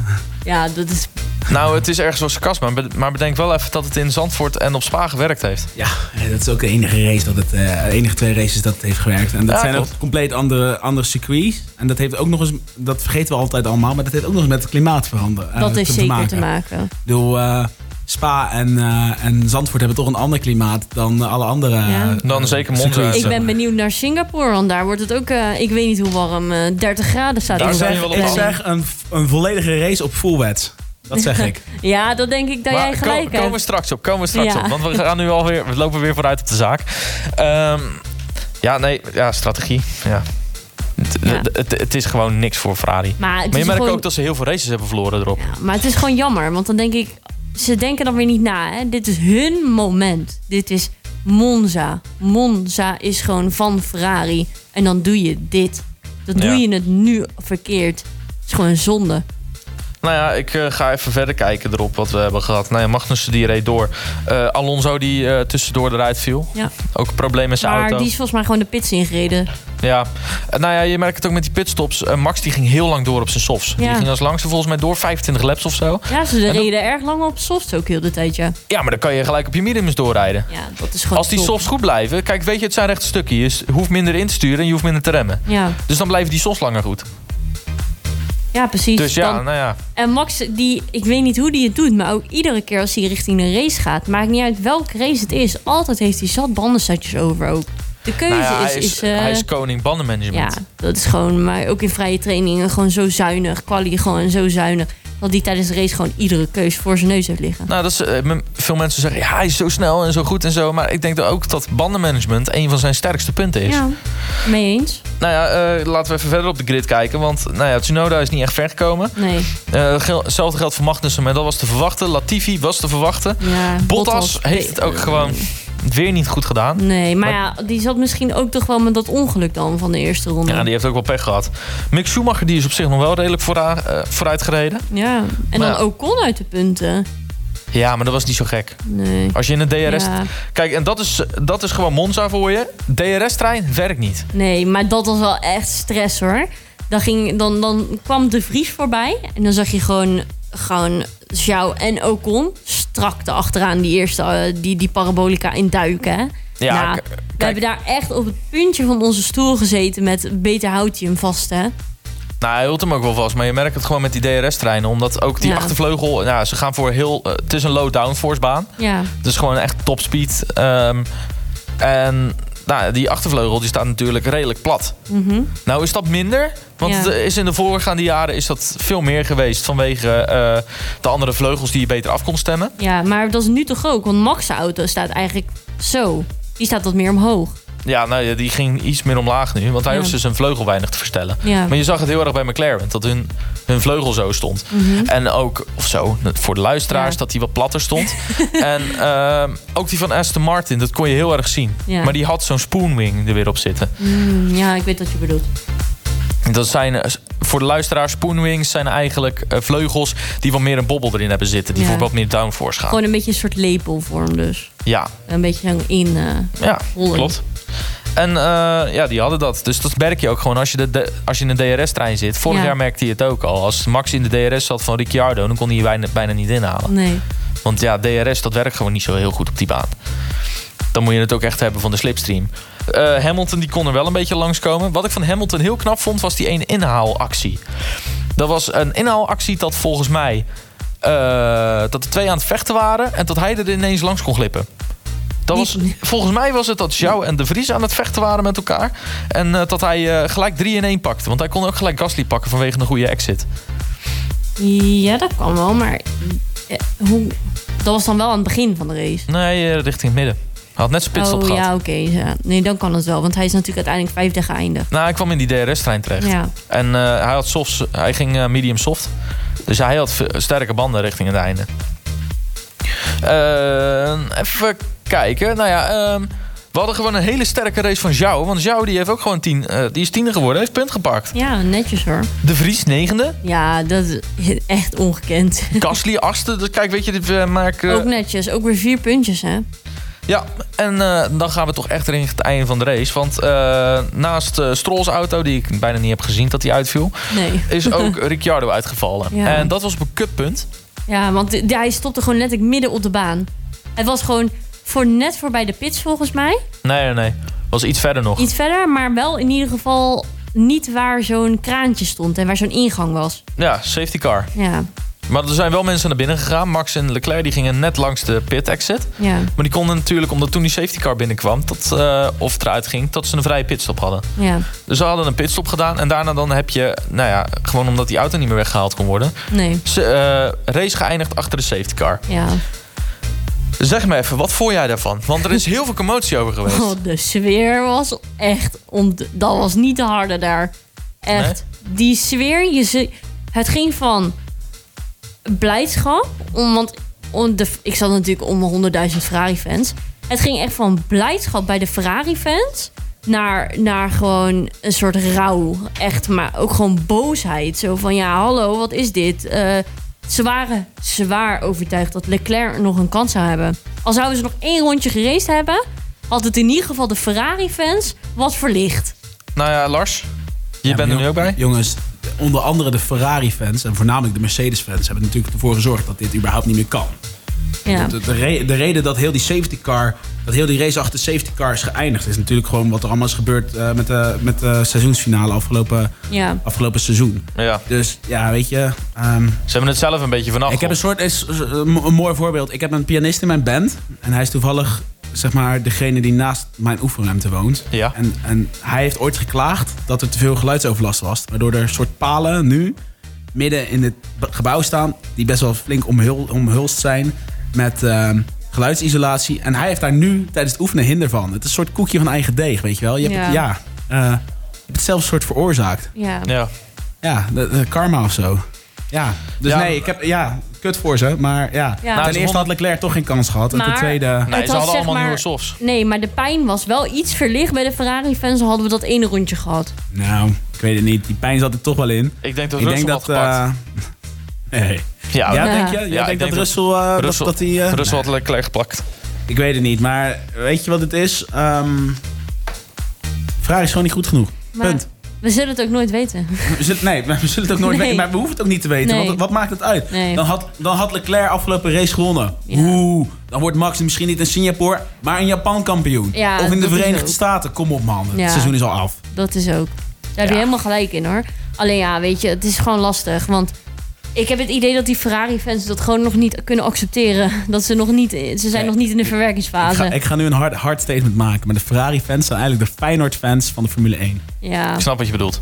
Speaker 2: Ja, dat is...
Speaker 1: Nou, het is ergens wel sarcasme. maar be- Maar bedenk wel even dat het in Zandvoort en op Spa gewerkt heeft.
Speaker 3: Ja, en dat is ook de enige race dat het, eh, de enige twee races dat het heeft gewerkt. En dat
Speaker 1: Ja,
Speaker 3: zijn
Speaker 1: klopt.
Speaker 3: ook compleet andere, andere circuits. En dat heeft ook nog eens, dat vergeten we altijd allemaal, maar dat heeft ook nog eens met het klimaat veranderd.
Speaker 2: dat heeft zeker te maken.
Speaker 3: Ik bedoel, eh, Spa en, eh, en Zandvoort hebben toch een ander klimaat dan eh, alle andere.
Speaker 2: Ja.
Speaker 3: eh,
Speaker 1: Dan zeker Monza.
Speaker 3: circuits.
Speaker 1: Zo.
Speaker 2: Ik ben benieuwd naar Singapore, want daar wordt het ook, eh, ik weet niet hoe warm, eh, 30 graden staat.
Speaker 1: Daar
Speaker 2: in de
Speaker 1: zijn we wel op
Speaker 3: Ik
Speaker 2: planning.
Speaker 3: zeg een, een volledige race op full wet. Dat zeg ik.
Speaker 2: Ja, dat denk ik dat
Speaker 1: maar
Speaker 2: jij gelijk
Speaker 1: komen, komen we
Speaker 2: hebt.
Speaker 1: straks op, komen we straks
Speaker 2: Ja.
Speaker 1: op. Want we gaan nu alweer, we lopen weer vooruit op de zaak. Ehm, ja, nee, ja, strategie. Ja. Het,
Speaker 2: Ja.
Speaker 1: het- Het, het is gewoon niks voor Ferrari.
Speaker 2: Maar het
Speaker 1: Maar je
Speaker 2: is
Speaker 1: merkt
Speaker 2: gewoon...
Speaker 1: ook dat ze heel veel races hebben verloren erop.
Speaker 2: Ja, maar het is gewoon jammer, want dan denk ik... Ze denken dan weer niet na, hè. Dit is hun moment. Dit is Monza. Monza is gewoon van Ferrari. En dan doe je dit. Dan doe
Speaker 1: Ja.
Speaker 2: je het nu verkeerd. Het is gewoon een zonde.
Speaker 1: Nou ja, ik eh, ga even verder kijken erop wat we hebben gehad. Nou ja, Magnussen die reed door. Eh, Alonso die eh, tussendoor eruit viel.
Speaker 2: Ja.
Speaker 1: Ook een probleem met zijn
Speaker 2: Maar
Speaker 1: auto.
Speaker 2: die is volgens mij gewoon de pits ingereden.
Speaker 1: Ja. Eh, nou ja, je merkt het ook met die pitstops. Eh, Max die ging heel lang door op zijn softs. Die
Speaker 2: Ja.
Speaker 1: ging als langste volgens mij door, 25 laps of zo.
Speaker 2: Ja, ze
Speaker 1: dan-
Speaker 2: reden erg lang op softs ook heel de tijd, ja.
Speaker 1: Ja, maar dan kan je gelijk op je mediums doorrijden.
Speaker 2: Ja, dat is gewoon
Speaker 1: Als die
Speaker 2: top.
Speaker 1: softs goed blijven, kijk, weet je, het zijn rechte stukken. Je s- hoeft minder in te sturen en je hoeft minder te remmen.
Speaker 2: Ja,
Speaker 1: Dus dan blijven die softs langer goed.
Speaker 2: ja precies.
Speaker 1: Dus ja,
Speaker 2: Dan-
Speaker 1: nou ja.
Speaker 2: en Max, die, ik weet niet hoe die het doet, maar ook iedere keer als hij richting een race gaat, maakt niet uit welke race het is, altijd heeft hij zat bandensetjes over ook. De keuze
Speaker 1: Nou ja,
Speaker 2: is.
Speaker 1: hij, is,
Speaker 2: eh,
Speaker 1: hij is koning
Speaker 2: ja,
Speaker 1: bandenmanagement.
Speaker 2: dat is gewoon, maar ook in vrije trainingen gewoon zo zuinig. Quali gewoon zo zuinig. Dat die tijdens de race gewoon iedere keus voor zijn neus heeft liggen.
Speaker 1: Nou, dat is, eh, m- veel mensen zeggen, ja, hij is zo snel en zo goed en zo. Maar ik denk dat ook dat bandenmanagement een van zijn sterkste punten is.
Speaker 2: Ja, mee eens?
Speaker 1: Nou ja, eh, laten we even verder op de grid kijken. Want nou ja, Tsunoda is niet echt ver gekomen.
Speaker 2: Nee.
Speaker 1: Eh, gel- hetzelfde geldt voor Magnussen, maar dat was te verwachten. Latifi was te verwachten.
Speaker 2: Ja,
Speaker 1: Bottas heeft het ook gewoon weer niet goed gedaan.
Speaker 2: Nee, maar, ja, die zat misschien ook toch wel met dat ongeluk dan van de eerste ronde.
Speaker 1: Ja, die heeft ook wel pech gehad. Mick Schumacher die is op zich nog wel redelijk eh, vooruit, vooruit gereden.
Speaker 2: Ja, en
Speaker 1: Maar
Speaker 2: dan
Speaker 1: ja.
Speaker 2: Ocon uit de punten.
Speaker 1: Ja, maar dat was niet zo gek.
Speaker 2: Nee.
Speaker 1: Als je in een DRS...
Speaker 2: Ja,
Speaker 1: Kijk, en dat is, dat is gewoon Monza voor je. DRS-trein werkt niet.
Speaker 2: nee, maar dat was wel echt stress hoor. Dan, ging, dan, dan kwam de Vries voorbij en dan zag je gewoon, gewoon Zhao en Ocon strak achteraan die eerste, eh, die, die parabolica induiken. Hè?
Speaker 1: Ja,
Speaker 2: Nou,
Speaker 1: k-
Speaker 2: we hebben daar echt op het puntje van onze stoel gezeten met beter houdt je hem vast hè.
Speaker 1: Nou, hij hield hem ook wel vast. Maar je merkt het gewoon met die DRS-treinen. Omdat ook die
Speaker 2: Ja.
Speaker 1: achtervleugel... Nou, ze gaan voor heel... eh, het is een low downforce baan.
Speaker 2: Ja,
Speaker 1: Dus gewoon echt topspeed. Ehm en nou, die achtervleugel die staat natuurlijk redelijk plat.
Speaker 2: mhm.
Speaker 1: Nou is dat minder. Want
Speaker 2: Ja.
Speaker 1: het is in de voorgaande jaren is dat veel meer geweest. Vanwege eh, de andere vleugels die je beter af kon stemmen.
Speaker 2: ja maar dat is nu toch ook, want Max' auto staat eigenlijk zo. Die staat wat meer omhoog.
Speaker 1: Ja, nou, ja, die ging iets meer omlaag nu. Want hij
Speaker 2: Ja.
Speaker 1: hoeft dus zijn vleugel weinig te verstellen.
Speaker 2: Ja.
Speaker 1: Maar je zag het heel erg bij McLaren. Dat hun, hun vleugel zo stond.
Speaker 2: Mhm.
Speaker 1: En ook, of zo, voor de luisteraars,
Speaker 2: Ja.
Speaker 1: dat die wat platter stond. en ehm, ook die van Aston Martin, dat kon je heel erg zien.
Speaker 2: Ja.
Speaker 1: Maar die had zo'n spoonwing er weer op zitten.
Speaker 2: Mm, ja, ik weet wat je bedoelt.
Speaker 1: Dat zijn eh, s- voor de luisteraars, spoonwings zijn eigenlijk eh, vleugels die wat meer een bobbel erin hebben zitten. Die
Speaker 2: Ja.
Speaker 1: voor wat meer downforce gaan.
Speaker 2: Gewoon een beetje een soort lepelvorm dus.
Speaker 1: Ja,
Speaker 2: Een beetje zo in... eh,
Speaker 1: ja
Speaker 2: Hollen.
Speaker 1: klopt. En eh, ja, die hadden dat. Dus dat merk je ook gewoon als je, de, de- als je in een DRS-trein zit. Vorig
Speaker 2: Ja.
Speaker 1: jaar merkte je het ook al. Als Max in de DRS zat van Ricciardo, dan kon hij je bijna, bijna niet inhalen.
Speaker 2: nee.
Speaker 1: Want ja, DRS, dat werkt gewoon niet zo heel goed op die baan. Dan moet je het ook echt hebben van de slipstream. Eh, Hamilton die kon er wel een beetje langskomen. Wat ik van Hamilton heel knap vond, was die ene inhaalactie. Dat was een inhaalactie dat volgens mij... eh, dat de twee aan het vechten waren en dat hij er ineens langs kon glippen. Dat was,
Speaker 2: Niet-
Speaker 1: volgens mij was het dat Jou en De Vries aan het vechten waren met elkaar. En eh, dat hij eh, gelijk 3 in 1 pakte. Want hij kon ook gelijk Gasly pakken vanwege een goede exit.
Speaker 2: Ja, dat kan wel, maar... eh, hoe... Dat was dan wel aan het begin van de race.
Speaker 1: Nee, eh, richting het midden. Hij had net zijn pitstop
Speaker 2: oh
Speaker 1: gehad.
Speaker 2: ja, oké. ja. Nee, dan kan het wel. Want hij is natuurlijk uiteindelijk vijfde geëindigd.
Speaker 1: Nou, hij kwam in die DRS-trein terecht.
Speaker 2: Ja.
Speaker 1: En eh, hij, had softs, hij ging eh, medium soft. Dus hij had v- sterke banden richting het einde. Eh, even kijken. Nou ja, ehm, we hadden gewoon een hele sterke race van Zhao. Want Zhao die heeft ook gewoon tien, eh, die is tiende geworden. heeft punt gepakt.
Speaker 2: Ja, netjes hoor.
Speaker 1: De Vries negende.
Speaker 2: Ja, dat is echt ongekend.
Speaker 1: Gasly achtste. Dus kijk, weet je, dit, we maken...
Speaker 2: Ook netjes. Ook weer vier puntjes, hè?
Speaker 1: Ja, en eh, dan gaan we toch echt richting het einde van de race. Want eh, naast eh Strolls auto, die ik bijna niet heb gezien dat die uitviel...
Speaker 2: Nee.
Speaker 1: is ook Ricciardo uitgevallen.
Speaker 2: Ja.
Speaker 1: En dat was op een cutpunt.
Speaker 2: Ja, want d- hij stopte gewoon letterlijk midden op de baan. Het was gewoon voor net voorbij de pits, volgens mij.
Speaker 1: Nee, nee, nee. Was iets verder nog.
Speaker 2: Iets verder, maar wel in ieder geval niet waar zo'n kraantje stond en waar zo'n ingang was.
Speaker 1: Ja, safety car.
Speaker 2: Ja,
Speaker 1: Maar er zijn wel mensen naar binnen gegaan. Max en Leclerc die gingen net langs de pit exit.
Speaker 2: ja,
Speaker 1: Maar die konden natuurlijk, omdat toen die safety car binnenkwam, dat, eh, of eruit ging, dat ze een vrije pitstop hadden.
Speaker 2: ja.
Speaker 1: Dus ze hadden een pitstop gedaan. En daarna dan heb je, nou ja, gewoon omdat die auto niet meer weggehaald kon worden.
Speaker 2: Nee,
Speaker 1: Ze, eh, race geëindigd achter de safety car.
Speaker 2: ja.
Speaker 1: Zeg me even, wat vond jij daarvan? Want er is heel veel commotie over geweest.
Speaker 2: Oh, de sfeer was echt... Ont... Dat was niet te harde daar. Echt. Die sfeer, je ze... het ging van blijdschap. Om, want om de... ik zat natuurlijk onder 100.000 Ferrari-fans. Het ging echt van blijdschap bij de Ferrari-fans... Naar, naar gewoon een soort rouw. Echt, maar ook gewoon boosheid. Zo van, ja, hallo, wat is dit? Eh, ze waren zwaar overtuigd dat Leclerc nog een kans zou hebben. Al zouden ze nog één rondje gereisd hebben... had het in ieder geval de Ferrari-fans wat verlicht.
Speaker 1: Nou ja, Lars, je
Speaker 3: Ja,
Speaker 1: bent er
Speaker 3: maar
Speaker 1: nu ook
Speaker 3: jong-
Speaker 1: bij.
Speaker 3: Jongens, onder andere de Ferrari-fans en voornamelijk de Mercedes-fans hebben natuurlijk ervoor gezorgd dat dit überhaupt niet meer kan.
Speaker 2: Ja.
Speaker 3: De, de, re- de reden dat heel die safety car, dat heel die race achter de safety car is geëindigd, is natuurlijk gewoon wat er allemaal is gebeurd eh, met, de, met de seizoensfinale afgelopen,
Speaker 2: Ja.
Speaker 3: afgelopen seizoen.
Speaker 1: Ja.
Speaker 3: Dus ja, weet je. ehm,
Speaker 1: Ze hebben het zelf een beetje vanaf.
Speaker 3: ik heb een soort is- is- een mo- een mooi voorbeeld. Ik heb een pianist in mijn band. En hij is toevallig zeg maar, degene die naast mijn oefenruimte woont.
Speaker 1: Ja.
Speaker 3: En, en hij heeft ooit geklaagd dat er te veel geluidsoverlast was. Waardoor er soort palen nu midden in het b- gebouw staan. Die best wel flink omhul, omhulst zijn met ehm, geluidsisolatie. En hij heeft daar nu tijdens het oefenen hinder van. Het is een soort koekje van eigen deeg, weet je wel. Je hebt
Speaker 2: Ja.
Speaker 3: het, ja, eh, je hebt het zelf een soort veroorzaakt.
Speaker 2: Ja.
Speaker 1: Ja.
Speaker 3: Ja, de, de karma of zo. Ja, dus
Speaker 1: Ja,
Speaker 3: nee, ik heb, ja, kut voor ze. Maar ja,
Speaker 2: Ja. Nou,
Speaker 3: ten
Speaker 1: ze
Speaker 3: eerste had Leclerc toch geen kans gehad. en
Speaker 2: Maar-
Speaker 3: ten tweede...
Speaker 1: Nee,
Speaker 2: Het
Speaker 1: ze
Speaker 2: had,
Speaker 1: hadden
Speaker 2: zeg
Speaker 1: allemaal
Speaker 2: maar-
Speaker 1: nieuwe softs.
Speaker 2: Nee, maar de pijn was wel iets verlicht. Bij de Ferrari-fans hadden we dat ene rondje gehad.
Speaker 3: Nou, ik weet het niet. Die pijn zat er toch wel in.
Speaker 1: Ik denk dat
Speaker 3: ik denk
Speaker 1: Russell
Speaker 3: dat...
Speaker 1: had gepakt.
Speaker 3: eh, nee.
Speaker 1: ja, ja,
Speaker 3: Ja,
Speaker 2: Ja.
Speaker 3: denk je? Jij
Speaker 1: Ja,
Speaker 3: denkt
Speaker 1: ik
Speaker 3: dat
Speaker 1: denk
Speaker 3: Russell... eh, dat-
Speaker 1: Russell-
Speaker 3: dat hij... eh,
Speaker 1: Russell had Leclerc gepakt.
Speaker 3: Ik weet het niet, maar weet je wat het is? Ehm Ferrari is gewoon niet goed genoeg.
Speaker 2: Maar
Speaker 3: Punt.
Speaker 2: we zullen het ook nooit weten.
Speaker 3: We zullen, nee, maar we zullen het ook nooit
Speaker 2: Nee.
Speaker 3: weten. Maar we hoeven het ook niet te weten.
Speaker 2: Nee.
Speaker 3: Want wat maakt het uit?
Speaker 2: Nee.
Speaker 3: Dan, had, dan had Leclerc afgelopen race gewonnen.
Speaker 2: Ja.
Speaker 3: Oeh, dan wordt Max misschien niet in Singapore, maar in Japan kampioen.
Speaker 2: Ja,
Speaker 3: of in de
Speaker 2: dat is
Speaker 3: Verenigde
Speaker 2: ook.
Speaker 3: Staten. Kom op man, het
Speaker 2: Ja.
Speaker 3: seizoen is al af.
Speaker 2: Dat is ook. Daar heb je helemaal gelijk in hoor. Alleen ja, weet je, het is gewoon lastig. Want ik heb het idee dat die Ferrari-fans dat gewoon nog niet kunnen accepteren. Dat ze nog niet, ze zijn
Speaker 3: Nee.
Speaker 2: nog niet in de verwerkingsfase.
Speaker 3: Ik ga, ik ga nu een hard, hard statement maken. Maar de Ferrari-fans zijn eigenlijk de Feyenoord-fans van de Formule 1.
Speaker 2: Ja.
Speaker 1: Ik snap wat je bedoelt.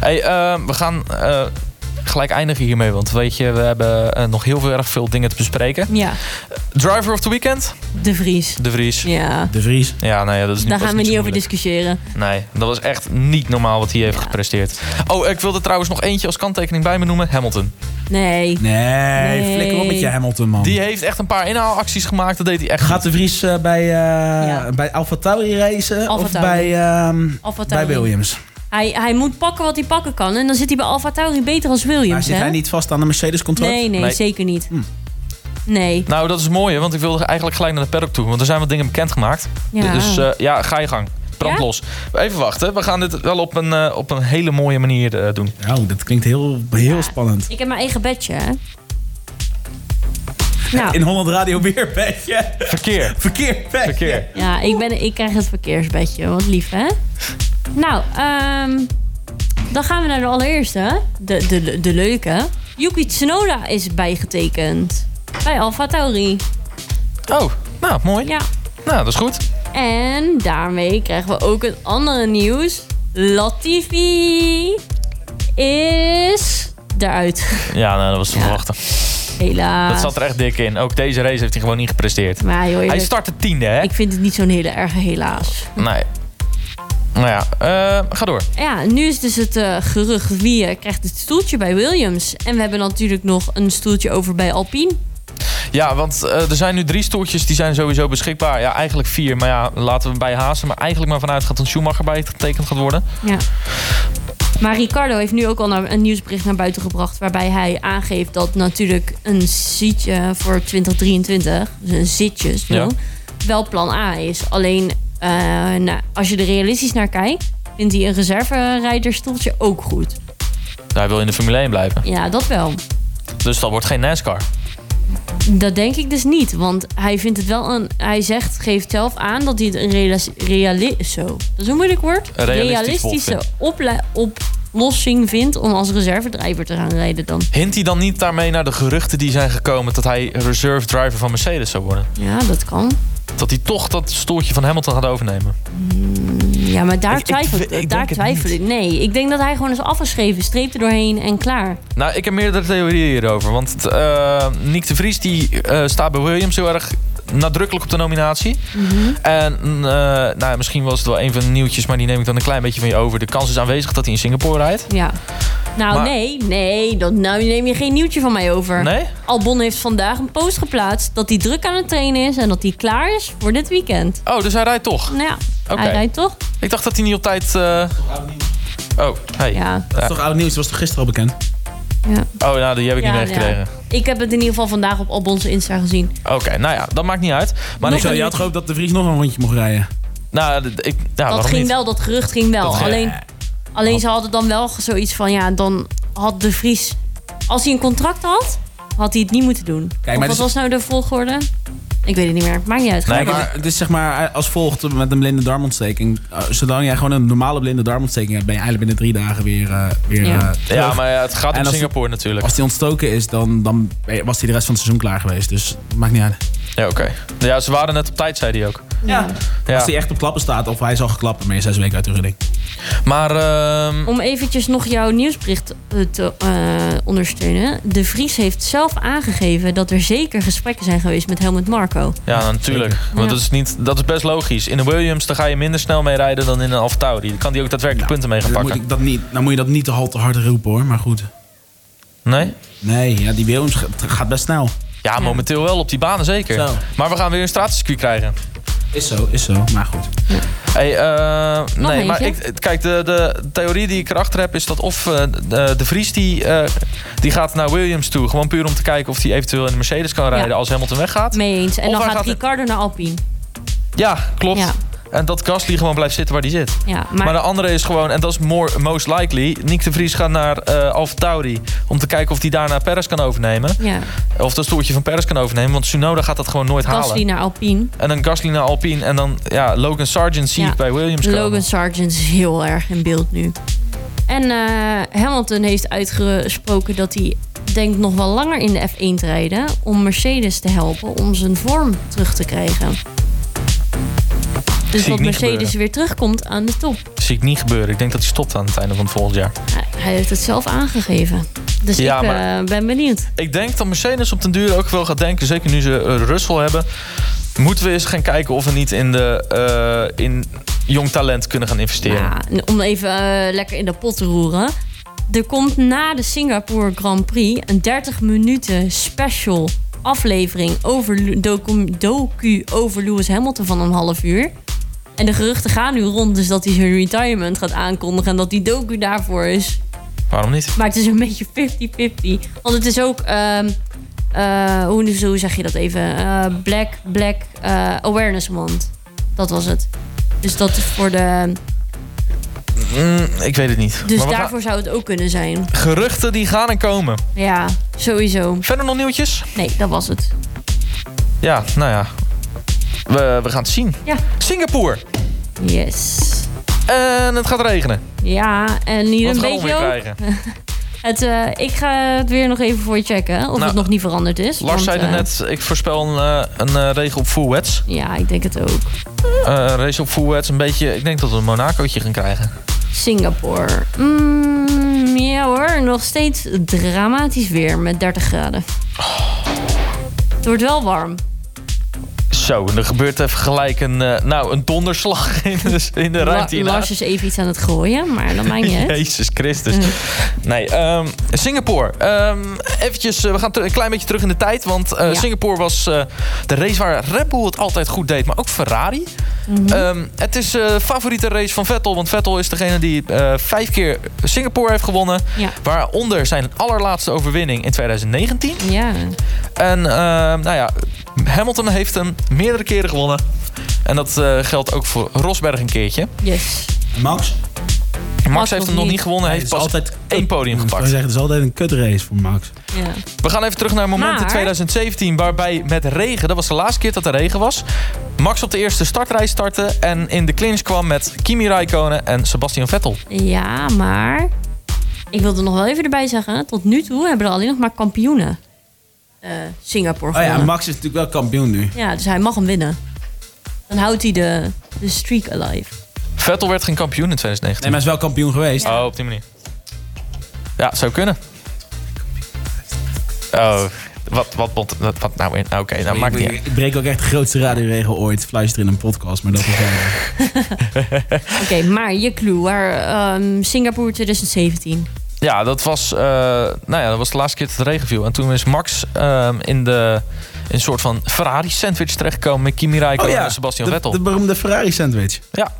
Speaker 1: Hey, eh, we gaan eh, gelijk eindigen hiermee. Want weet je, we hebben eh, nog heel veel, erg veel dingen te bespreken.
Speaker 2: Ja,
Speaker 1: Driver of the Weekend?
Speaker 2: de Vries.
Speaker 1: De Vries. Ja,
Speaker 2: Ja,
Speaker 3: De Vries.
Speaker 1: nou ja, dat is nu
Speaker 2: daar
Speaker 1: pas
Speaker 2: gaan we
Speaker 1: zo
Speaker 2: niet over
Speaker 1: moeilijk.
Speaker 2: discussiëren.
Speaker 1: Nee, dat was echt niet normaal wat hij heeft
Speaker 2: Ja.
Speaker 1: gepresteerd. Oh, ik wilde trouwens nog eentje als kanttekening bij me noemen. Hamilton.
Speaker 2: Nee.
Speaker 3: Nee,
Speaker 2: Nee.
Speaker 3: flikker op met je Hamilton man.
Speaker 1: Die heeft echt een paar inhaalacties gemaakt. Dat deed hij echt
Speaker 3: Oh. Gaat de Vries eh, bij, eh
Speaker 2: Ja.
Speaker 3: bij Alfa Tauri racen?
Speaker 2: Alpha
Speaker 3: of
Speaker 2: Tauri.
Speaker 3: bij, ehm,
Speaker 2: Alpha
Speaker 3: bij
Speaker 2: Tauri.
Speaker 3: Williams?
Speaker 2: Hij, hij moet pakken wat hij pakken kan. En dan zit hij bij Alfa Tauri beter als Williams.
Speaker 3: Maar zit
Speaker 2: hè?
Speaker 3: hij niet vast aan een Mercedes-contract?
Speaker 2: Nee, nee,
Speaker 1: Nee. Hm.
Speaker 2: zeker niet. Nee.
Speaker 1: Nou, dat is mooi, hè, want ik wilde eigenlijk gelijk naar de paddock toe. Want er zijn wat dingen bekendgemaakt.
Speaker 2: Ja.
Speaker 1: Dus eh, ja, ga je gang. Brand
Speaker 2: Ja?
Speaker 1: los. Even wachten. We gaan dit wel op een, eh, op een hele mooie manier eh, doen.
Speaker 3: Nou, dat klinkt heel, heel spannend.
Speaker 2: Ik heb mijn eigen bedje, hè. Nou,
Speaker 3: In Holland Radio weer bedje.
Speaker 1: Verkeer.
Speaker 3: Verkeer bedje.
Speaker 1: Verkeer.
Speaker 2: ja, ik, ben, ik krijg het verkeersbedje. Wat lief, hè? Nou, ehm, dan gaan we naar de allereerste. De, de, de, de leuke. Yuki Tsunoda is bijgetekend. Bij Alfa Tauri.
Speaker 1: Oh, nou, mooi.
Speaker 2: Ja.
Speaker 1: Nou, dat is goed.
Speaker 2: En daarmee krijgen we ook het andere nieuws. Latifi is eruit.
Speaker 1: Ja, nou, dat was te verwachten.
Speaker 2: Helaas.
Speaker 1: Dat zat er echt dik in. Ook deze race heeft hij gewoon niet gepresteerd.
Speaker 2: Maar joh,
Speaker 1: Hij
Speaker 2: eerlijk,
Speaker 1: startte tiende, hè?
Speaker 2: ik vind het niet zo'n hele erge helaas.
Speaker 1: Nee. Nou ja, eh, ga door.
Speaker 2: Ja, nu is dus het eh, gerucht wie eh, krijgt het stoeltje bij Williams. En we hebben natuurlijk nog een stoeltje over bij Alpine.
Speaker 1: Ja, want eh, er zijn nu drie stoeltjes die zijn sowieso beschikbaar. Ja, eigenlijk vier, maar ja, laten we bij Hazen. Maar eigenlijk maar vanuit gaat dat Schumacher bij getekend gaat worden.
Speaker 2: Ja. Maar Ricardo heeft nu ook al naar- een nieuwsbericht naar buiten gebracht. Waarbij hij aangeeft dat natuurlijk een zitje voor 2023, dus een zitje, zo,
Speaker 1: Ja.
Speaker 2: wel plan A is. Alleen eh, nou, als je er realistisch naar kijkt, vindt hij een reserverijderstoeltje ook goed.
Speaker 1: Hij wil in de Formule 1 blijven.
Speaker 2: Ja, dat wel.
Speaker 1: Dus dat wordt geen NASCAR.
Speaker 2: Dat denk ik dus niet, want hij vindt het wel een. Hij zegt, geeft zelf aan dat hij het een realis- reali- zo, dat is een moeilijk woord.
Speaker 1: Een realistisch
Speaker 2: realistische
Speaker 1: volk
Speaker 2: opla- oplossing vindt om als reservedrijver te gaan rijden dan.
Speaker 1: Hint hij dan niet daarmee naar de geruchten die zijn gekomen dat hij reserve driver van Mercedes zou worden?
Speaker 2: Ja, dat kan.
Speaker 1: Dat hij toch dat stoeltje van Hamilton gaat overnemen?
Speaker 2: Mm, Ja, maar daar
Speaker 1: Ik- ik
Speaker 2: twijfel ik,
Speaker 1: twi- ik
Speaker 2: daar
Speaker 1: denk het
Speaker 2: twijfel
Speaker 1: niet.
Speaker 2: ik. Nee, ik denk dat hij gewoon is afgeschreven, streep er doorheen en klaar.
Speaker 1: Nou, ik heb meerdere theorieën hierover. Want eh Nick de Vries die, eh, staat bij Williams heel erg nadrukkelijk op de nominatie. En eh, nou, ja, misschien was het wel een van de nieuwtjes, maar die neem ik dan een klein beetje van je over. De kans is aanwezig dat hij in Singapore rijdt.
Speaker 2: Ja. Nou,
Speaker 1: Maar-
Speaker 2: nee, nee, dat, nou neem je geen nieuwtje van mij over.
Speaker 1: Nee?
Speaker 2: Albon heeft vandaag een post geplaatst dat hij druk aan het trainen is en dat hij klaar is voor dit weekend.
Speaker 1: Oh, dus hij rijdt toch?
Speaker 2: Nou ja,
Speaker 1: Oké.
Speaker 2: hij rijdt toch?
Speaker 1: Ik dacht dat hij niet op tijd. eh, Oh, hey.
Speaker 2: Ja.
Speaker 3: Dat is toch oud nieuws? Dat was toch gisteren al bekend?
Speaker 2: ja.
Speaker 1: Oh, nou, die heb ik
Speaker 2: Ja,
Speaker 1: niet
Speaker 2: ja.
Speaker 1: meegekregen.
Speaker 2: Ik heb het in ieder geval vandaag op Albon's Insta gezien.
Speaker 1: Oké, nou ja, dat maakt niet uit. Maar
Speaker 2: Nog
Speaker 1: ik,
Speaker 3: Zo, je had gehoopt dat de Vries nog een rondje mocht rijden.
Speaker 1: nou, d- ik, nou,
Speaker 2: dat
Speaker 1: waarom
Speaker 2: ging
Speaker 1: niet?
Speaker 2: wel, dat gerucht ging wel.
Speaker 1: Dat ging-
Speaker 2: alleen alleen ze hadden dan wel zoiets van, ja, dan had de Vries... Als hij een contract had, had hij het niet moeten doen.
Speaker 3: maar
Speaker 2: of wat
Speaker 3: dus-
Speaker 2: was nou de volgorde? Ik weet het niet meer. Maakt niet uit.
Speaker 1: Nee,
Speaker 2: Ga
Speaker 3: Ja,
Speaker 2: maar.
Speaker 3: maar het is zeg maar eh, als volgt met een blinde darmontsteking. Eh, Zolang jij gewoon een normale blinde darmontsteking hebt, ben je eigenlijk binnen drie dagen weer. eh, weer
Speaker 2: Ja.
Speaker 3: eh, terug.
Speaker 1: Ja, maar ja, het gaat
Speaker 3: En
Speaker 1: om
Speaker 3: als-
Speaker 1: Singapore natuurlijk.
Speaker 3: Als die ontstoken is, dan, dan ben je- was hij de rest van het seizoen klaar geweest. Dus maakt niet uit.
Speaker 1: Ja, oké. Ja, ze waren net op tijd, zei hij ook.
Speaker 3: Ja.
Speaker 1: Ja.
Speaker 3: Als hij echt op klappen staat, of hij is al geklappen, maar je zes weken uit de redding.
Speaker 1: Maar ehm,
Speaker 2: Om eventjes nog jouw nieuwsbericht eh, te eh, ondersteunen. De Vries heeft zelf aangegeven dat er zeker gesprekken zijn geweest met Helmut Marco.
Speaker 1: Ja, natuurlijk.
Speaker 3: Zeker.
Speaker 1: Want
Speaker 2: Ja.
Speaker 1: dat is, niet, dat is best logisch. In de Williams daar ga je minder snel mee rijden dan in een Alfa Tauri. Dan kan die ook daadwerkelijk punten mee gaan
Speaker 3: Dan moet,
Speaker 1: pakken.
Speaker 3: ik dat niet, dan moet je dat niet te hard, te hard roepen hoor, maar goed.
Speaker 1: Nee?
Speaker 3: Nee, ja, die Williams ga- gaat best snel.
Speaker 1: Ja, momenteel wel op die banen zeker.
Speaker 3: Zo.
Speaker 1: Maar we gaan weer een straatcircuit krijgen.
Speaker 3: Is zo, is zo, maar goed.
Speaker 1: Hey, eh, nee, maar
Speaker 2: eentje?
Speaker 1: ik, kijk, de, de theorie die ik erachter heb is dat of eh, de, de Vries die, eh, die gaat naar Williams toe. Gewoon puur om te kijken of hij eventueel in de Mercedes kan rijden als Hamilton weggaat.
Speaker 2: Mee eens. En
Speaker 1: Of
Speaker 2: dan
Speaker 1: hij
Speaker 2: gaat,
Speaker 1: gaat-
Speaker 2: Ricardo naar Alpine.
Speaker 1: Ja, klopt.
Speaker 2: Ja.
Speaker 1: En dat Gasly gewoon blijft zitten waar hij zit.
Speaker 2: Ja,
Speaker 1: Maar de andere is gewoon, en dat is more, most likely... Nick de Vries gaat naar eh Alfa Tauri om te kijken of hij daarna Perez kan overnemen.
Speaker 2: ja.
Speaker 1: Of dat stoeltje van Perez kan overnemen, want Tsunoda gaat dat gewoon nooit
Speaker 2: Gasly
Speaker 1: halen.
Speaker 2: naar Alpine.
Speaker 1: En dan Gasly naar Alpine en dan ja, Logan Sargent zie
Speaker 2: Ja.
Speaker 1: ik bij Williams komen.
Speaker 2: Logan Sargent is heel erg in beeld nu. En eh, Hamilton heeft uitgesproken dat hij denkt nog wel langer in de F1 te rijden... om Mercedes te helpen om zijn vorm terug te krijgen. Dus
Speaker 1: Zie ik
Speaker 2: dat
Speaker 1: niet
Speaker 2: Mercedes
Speaker 1: gebeuren.
Speaker 2: weer terugkomt aan de top.
Speaker 1: Zie ik niet gebeuren. Ik denk dat hij stopt aan het einde van het volgend jaar.
Speaker 2: Hij- Hij heeft het zelf aangegeven. Dus
Speaker 1: Ja,
Speaker 2: ik eh,
Speaker 1: maar-
Speaker 2: ben benieuwd.
Speaker 1: Ik denk dat Mercedes op den duur ook wel gaat denken, zeker nu ze eh, Russell hebben... moeten we eens gaan kijken of we niet in, de, eh, in jong talent kunnen gaan investeren.
Speaker 2: Ja, en om even eh, lekker in de pot te roeren. Er komt na de Singapore Grand Prix een 30 minuten special aflevering over Lu- docu, docu over Lewis Hamilton van een half uur. En de geruchten gaan nu rond, dus dat hij zijn retirement gaat aankondigen en dat die docu daarvoor is.
Speaker 1: Waarom niet?
Speaker 2: Maar het is een beetje 50-50. Want het is ook. ehm, eh, hoe, hoe zeg je dat even? Eh, black Black eh, Awareness Month. Dat was het. Dus dat is voor de.
Speaker 1: Mm, ik weet het niet.
Speaker 2: Dus
Speaker 1: Maar we
Speaker 2: daarvoor zou het ook kunnen zijn.
Speaker 1: gaan- Geruchten die gaan en komen.
Speaker 2: Ja, sowieso.
Speaker 1: Verder nog nieuwtjes?
Speaker 2: Nee, dat was het.
Speaker 1: Ja, nou ja. We, we gaan het zien.
Speaker 2: Ja.
Speaker 1: Singapore.
Speaker 2: Yes.
Speaker 1: En het gaat regenen.
Speaker 2: Ja, en hier
Speaker 1: Wat
Speaker 2: een
Speaker 1: gaan we
Speaker 2: beetje
Speaker 1: weer
Speaker 2: ook.
Speaker 1: krijgen?
Speaker 2: Het, eh, ik ga het weer nog even voor je checken. Of
Speaker 1: Nou,
Speaker 2: het nog niet veranderd is.
Speaker 1: Lars zei
Speaker 2: want,
Speaker 1: er
Speaker 2: eh,
Speaker 1: net, ik voorspel een, eh, een eh, regen op full wets.
Speaker 2: Ja, ik denk het ook.
Speaker 1: Eh, race op full wets, een beetje... Ik denk dat we een Monacootje gaan krijgen.
Speaker 2: Singapore. Mm, ja hoor, nog steeds dramatisch weer met 30 graden. Het wordt wel warm.
Speaker 1: Zo, en er gebeurt even gelijk een, eh, nou, een donderslag in de, in de ruimte
Speaker 2: La-
Speaker 1: hiernaast.
Speaker 2: Lars is even iets aan het gooien, maar dat maakt niet uit.
Speaker 1: Jezus Christus. Nee, ehm, Singapore. Ehm, eventjes, eh, we gaan ter- een klein beetje terug in de tijd. Want eh,
Speaker 2: Ja.
Speaker 1: Singapore was eh, de race waar Red Bull het altijd goed deed. Maar ook Ferrari.
Speaker 2: Mhm.
Speaker 1: Ehm, het is eh, de favoriete race van Vettel. Want Vettel is degene die eh, vijf keer Singapore heeft gewonnen.
Speaker 2: Ja.
Speaker 1: Waaronder zijn allerlaatste overwinning in 2019.
Speaker 2: Ja,
Speaker 1: En ehm, nou ja, Hamilton heeft hem meerdere keren gewonnen. En dat eh, geldt ook voor Rosberg een keertje.
Speaker 2: yes.
Speaker 3: Max?
Speaker 1: Max,
Speaker 2: Max
Speaker 1: heeft
Speaker 2: nog
Speaker 1: hem nog
Speaker 2: niet.
Speaker 1: niet gewonnen. Hij heeft pas één podium
Speaker 3: Oh, Ik
Speaker 1: gepakt.
Speaker 3: zeggen, het is altijd een kutrace voor Max.
Speaker 2: Ja.
Speaker 1: We gaan even terug naar een moment in
Speaker 2: Maar-
Speaker 1: 2017 waarbij met regen, dat was de laatste keer dat er regen was, Max op de eerste startrij startte en in de clinch kwam met Kimi Räikkönen en Sebastian Vettel.
Speaker 2: ja, maar ik wilde nog wel even erbij zeggen. Tot nu toe hebben er alleen nog maar kampioenen eh, Singapore
Speaker 3: Oh ja,
Speaker 2: gewonnen.
Speaker 3: Max is natuurlijk wel kampioen nu.
Speaker 2: ja, dus hij mag hem winnen. Dan houdt hij de, de streak alive.
Speaker 1: Vettel werd geen kampioen in
Speaker 3: Nee,
Speaker 1: 2019.
Speaker 3: maar hij is wel kampioen geweest.
Speaker 1: Oh, op die manier. Ja, zou kunnen. Oh, wat, wat, wat, wat, wat nou weer? Nou, Oké, nou maakt niet uit.
Speaker 3: Ik breek ook echt de grootste radioregel ooit. Fluisteren in een podcast, maar dat is wel... Oh
Speaker 2: Oké, maar je clue. Waar, ehm, Singapore 2017.
Speaker 1: Ja, dat was, eh, nou ja, dat was de laatste keer dat het regen viel. En toen is Max ehm, in, de, in een soort van Ferrari-sandwich terechtgekomen met Kimi Räikkönen en Sebastian
Speaker 3: Oh de,
Speaker 1: Vettel.
Speaker 3: de beroemde Ferrari sandwich.
Speaker 1: Ja.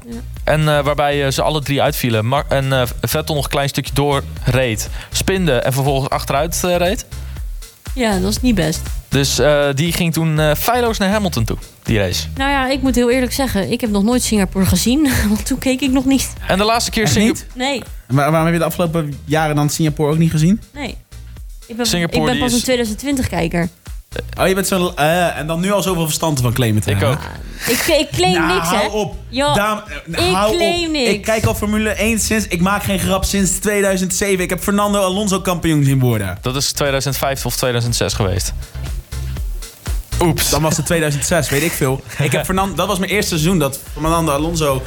Speaker 1: En eh, waarbij eh, ze alle drie uitvielen. Mar- en eh, Vettel nog een klein stukje doorreed. Spinde en vervolgens achteruit eh, reed.
Speaker 2: Ja, dat is niet best.
Speaker 1: Dus eh, die ging toen eh feilloos naar Hamilton toe, die race.
Speaker 2: Nou ja, ik moet heel eerlijk zeggen, ik heb nog nooit Singapore gezien. Want toen keek ik nog niet.
Speaker 1: En de laatste keer
Speaker 3: Echt
Speaker 1: Singa-
Speaker 3: niet?
Speaker 2: Nee,
Speaker 3: En waar- waarom heb je de afgelopen jaren dan Singapore ook niet gezien?
Speaker 2: nee. Ik ben,
Speaker 1: Singapore,
Speaker 2: ik ben
Speaker 1: die
Speaker 2: pas
Speaker 1: is-
Speaker 2: een 2020 kijker.
Speaker 3: Oh, je bent zo'n... eh, en dan nu al zoveel verstand van claimen te
Speaker 1: Ik
Speaker 3: hebben.
Speaker 1: ook.
Speaker 2: Ik, ik claim
Speaker 3: Nou,
Speaker 2: niks, hè?
Speaker 3: hou op.
Speaker 2: Ja,
Speaker 3: Dame- eh,
Speaker 2: Oh, ik
Speaker 3: hou
Speaker 2: claim
Speaker 3: op.
Speaker 2: niks.
Speaker 3: Ik kijk al Formule 1 sinds... Ik maak geen grap sinds 2007. Ik heb Fernando Alonso kampioen zien worden.
Speaker 1: Dat is 2005 of 2006 geweest. Oeps.
Speaker 3: Dan was het 2006, weet ik veel. Ik heb Fernando, dat was mijn eerste seizoen dat Fernando Alonso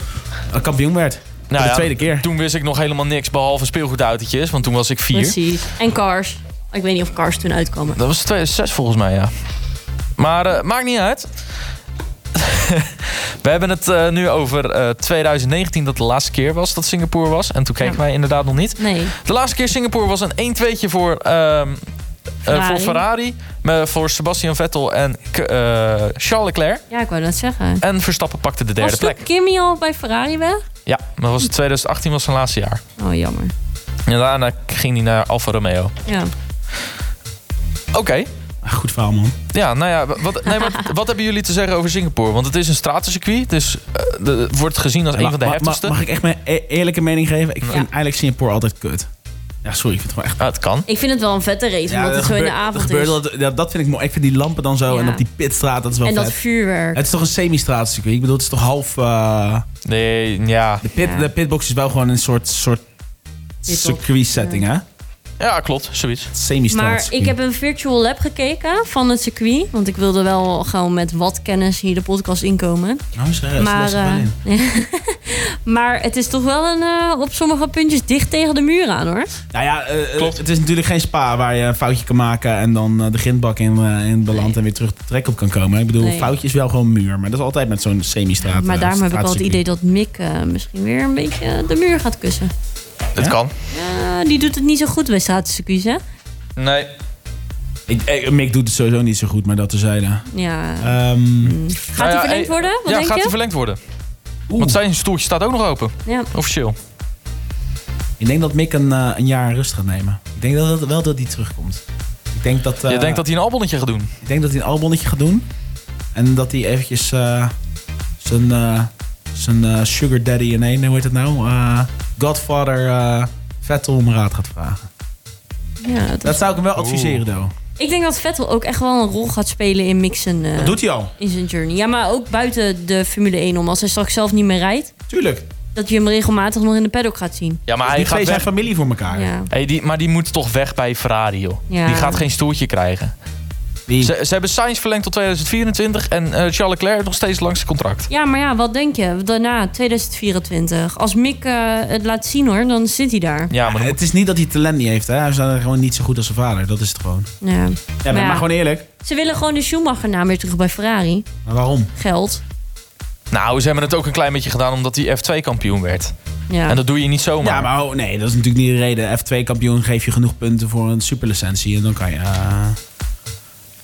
Speaker 3: eh, kampioen werd. Voor de
Speaker 1: Nou ja,
Speaker 3: tweede keer.
Speaker 1: Toen wist ik nog helemaal niks behalve speelgoedautootjes. Want toen was ik vier.
Speaker 2: Precies. En Cars. Ik weet niet of Cars toen uitkwam.
Speaker 1: Dat was 2006 volgens mij, ja. Maar eh, maakt niet uit. We hebben het eh, nu over eh, 2019 dat de laatste keer was dat Singapore was. En toen keken
Speaker 2: Ja.
Speaker 1: wij inderdaad nog niet.
Speaker 2: Nee.
Speaker 1: De laatste keer Singapore was een 1-2'tje voor, ehm, eh, voor
Speaker 2: Ferrari.
Speaker 1: Ferrari. maar voor Sebastian Vettel en K- eh, Charles Leclerc.
Speaker 2: Ja, ik wou dat zeggen.
Speaker 1: En Verstappen pakte de Eh, derde
Speaker 2: Was
Speaker 1: plek.
Speaker 2: toen Kimmy al bij Ferrari weg?
Speaker 1: Ja, maar was het 2018 was zijn laatste jaar.
Speaker 2: Oh, jammer.
Speaker 1: En daarna ging hij naar Alfa Romeo.
Speaker 2: Ja.
Speaker 1: Oké.
Speaker 3: Ah, Goed verhaal, man.
Speaker 1: Ja, nou ja, wat, nee, maar wat hebben jullie te zeggen over Singapore? Want het is een stratencircuit, dus eh, de- wordt gezien als een
Speaker 3: Ma-
Speaker 1: van de
Speaker 3: ma- ma-
Speaker 1: heftigste.
Speaker 3: Mag ik echt mijn e- eerlijke mening geven? Ik vind
Speaker 2: Ja.
Speaker 3: eigenlijk Singapore altijd kut. Ja, sorry, ik vind het gewoon echt...
Speaker 1: Ah, het kan.
Speaker 2: Ik vind het wel een vette race, omdat het zo in de
Speaker 3: dat,
Speaker 2: avond
Speaker 3: gebeurt
Speaker 2: is.
Speaker 3: altijd- ja, dat vind ik mooi. Ik vind die lampen dan zo
Speaker 2: Ja.
Speaker 3: en op die pitstraat, dat is wel
Speaker 2: en dat
Speaker 3: vet.
Speaker 2: vuurwerk.
Speaker 3: Het is toch een semi-straatcircuit? Ik bedoel, het is toch half... eh,
Speaker 1: Nee, ja.
Speaker 3: de, pit,
Speaker 2: Ja.
Speaker 3: de pitbox is wel gewoon een soort, soort
Speaker 2: Pitbox,
Speaker 3: circuit-setting, hè?
Speaker 1: Ja, klopt, zoiets.
Speaker 2: Maar
Speaker 3: Semi-straatcircuit.
Speaker 2: ik heb een virtual lab gekeken van het circuit. Want ik wilde wel gewoon met wat kennis hier de podcast inkomen.
Speaker 3: Nou, serieus,
Speaker 2: maar,
Speaker 3: les er wel
Speaker 2: eh,
Speaker 3: in.
Speaker 2: Maar het is toch wel een, eh, op sommige puntjes dicht tegen de muur aan hoor.
Speaker 3: Nou ja, eh,
Speaker 1: Klopt.
Speaker 3: het is natuurlijk geen spa waar je een foutje kan maken en dan eh, de grindbak in, eh, in belandt
Speaker 2: Nee.
Speaker 3: en weer terug de trek op kan komen. Ik bedoel,
Speaker 2: Nee.
Speaker 3: een foutje is wel gewoon een muur, maar dat is altijd met zo'n semi-straat.
Speaker 2: maar
Speaker 3: eh,
Speaker 2: daarom heb ik wel het
Speaker 3: straatcircuit.
Speaker 2: idee dat Mick eh, misschien weer een beetje de muur gaat kussen.
Speaker 1: Het
Speaker 3: Ja?
Speaker 1: kan.
Speaker 2: Ja, die doet het niet zo goed bij straatcircuits hè?
Speaker 1: Nee.
Speaker 3: Ik, eh, Mick doet het sowieso niet zo goed, maar dat terzijde.
Speaker 2: Ja. mm.
Speaker 3: Ehm
Speaker 2: Gaat hij verlengd worden? Wat
Speaker 1: Nou ja,
Speaker 2: denk
Speaker 1: gaat
Speaker 2: je?
Speaker 1: hij verlengd worden. Want zijn stoeltje staat ook nog open,
Speaker 2: Ja.
Speaker 1: officieel.
Speaker 3: Ik denk dat Mick een, eh, een jaar rust gaat nemen. Ik denk dat, dat, wel dat hij terugkomt. Ik denk dat, eh,
Speaker 1: Je denkt dat hij een albonnetje gaat doen.
Speaker 3: ik denk dat hij een albonnetje gaat doen. En dat hij eventjes eh, zijn, eh, zijn eh, sugar daddy in één, hoe heet het nou? Eh, Godfather eh Vettel om raad gaat vragen.
Speaker 2: Ja, het-
Speaker 3: Dat zou ik hem wel adviseren, Do.
Speaker 2: Ik denk dat Vettel ook echt wel een rol gaat spelen in mixen eh,
Speaker 3: Dat doet hij al.
Speaker 2: in zijn journey. Ja, maar ook buiten de Formule 1 om. Als hij straks zelf niet meer rijdt,
Speaker 3: Tuurlijk.
Speaker 2: dat je hem regelmatig nog in de paddock gaat zien.
Speaker 1: Ja, maar hij
Speaker 3: Die
Speaker 1: gaat
Speaker 3: twee zijn
Speaker 1: weg.
Speaker 3: familie voor elkaar.
Speaker 2: Ja.
Speaker 1: Hey, die, maar die moet toch weg bij Ferrari, joh.
Speaker 2: Ja.
Speaker 1: Die gaat geen stoeltje krijgen.
Speaker 3: Die-
Speaker 1: Ze, ze hebben Sainz verlengd tot 2024 en eh, Charles Leclerc nog steeds langs zijn contract.
Speaker 2: ja, maar ja, wat denk je? Daarna, 2024. Als Mick eh, het laat zien hoor, dan zit hij daar.
Speaker 1: Ja, maar dan moet-
Speaker 3: het is niet dat hij talent niet heeft. Hè? Hij is dan gewoon niet zo goed als zijn vader. Dat is het gewoon. Ja,
Speaker 2: Ja.
Speaker 3: maar,
Speaker 2: Maar ja.
Speaker 3: maar gewoon eerlijk.
Speaker 2: Ze willen gewoon de Schumacher naam weer terug bij Ferrari.
Speaker 3: Maar waarom?
Speaker 2: Geld.
Speaker 1: nou, ze hebben het ook een klein beetje gedaan omdat hij F2-kampioen werd.
Speaker 2: Ja.
Speaker 1: En dat doe je niet zomaar.
Speaker 3: Ja, maar oh, nee, dat is natuurlijk niet de reden. F2-kampioen geef je genoeg punten voor een superlicentie. En dan kan je eh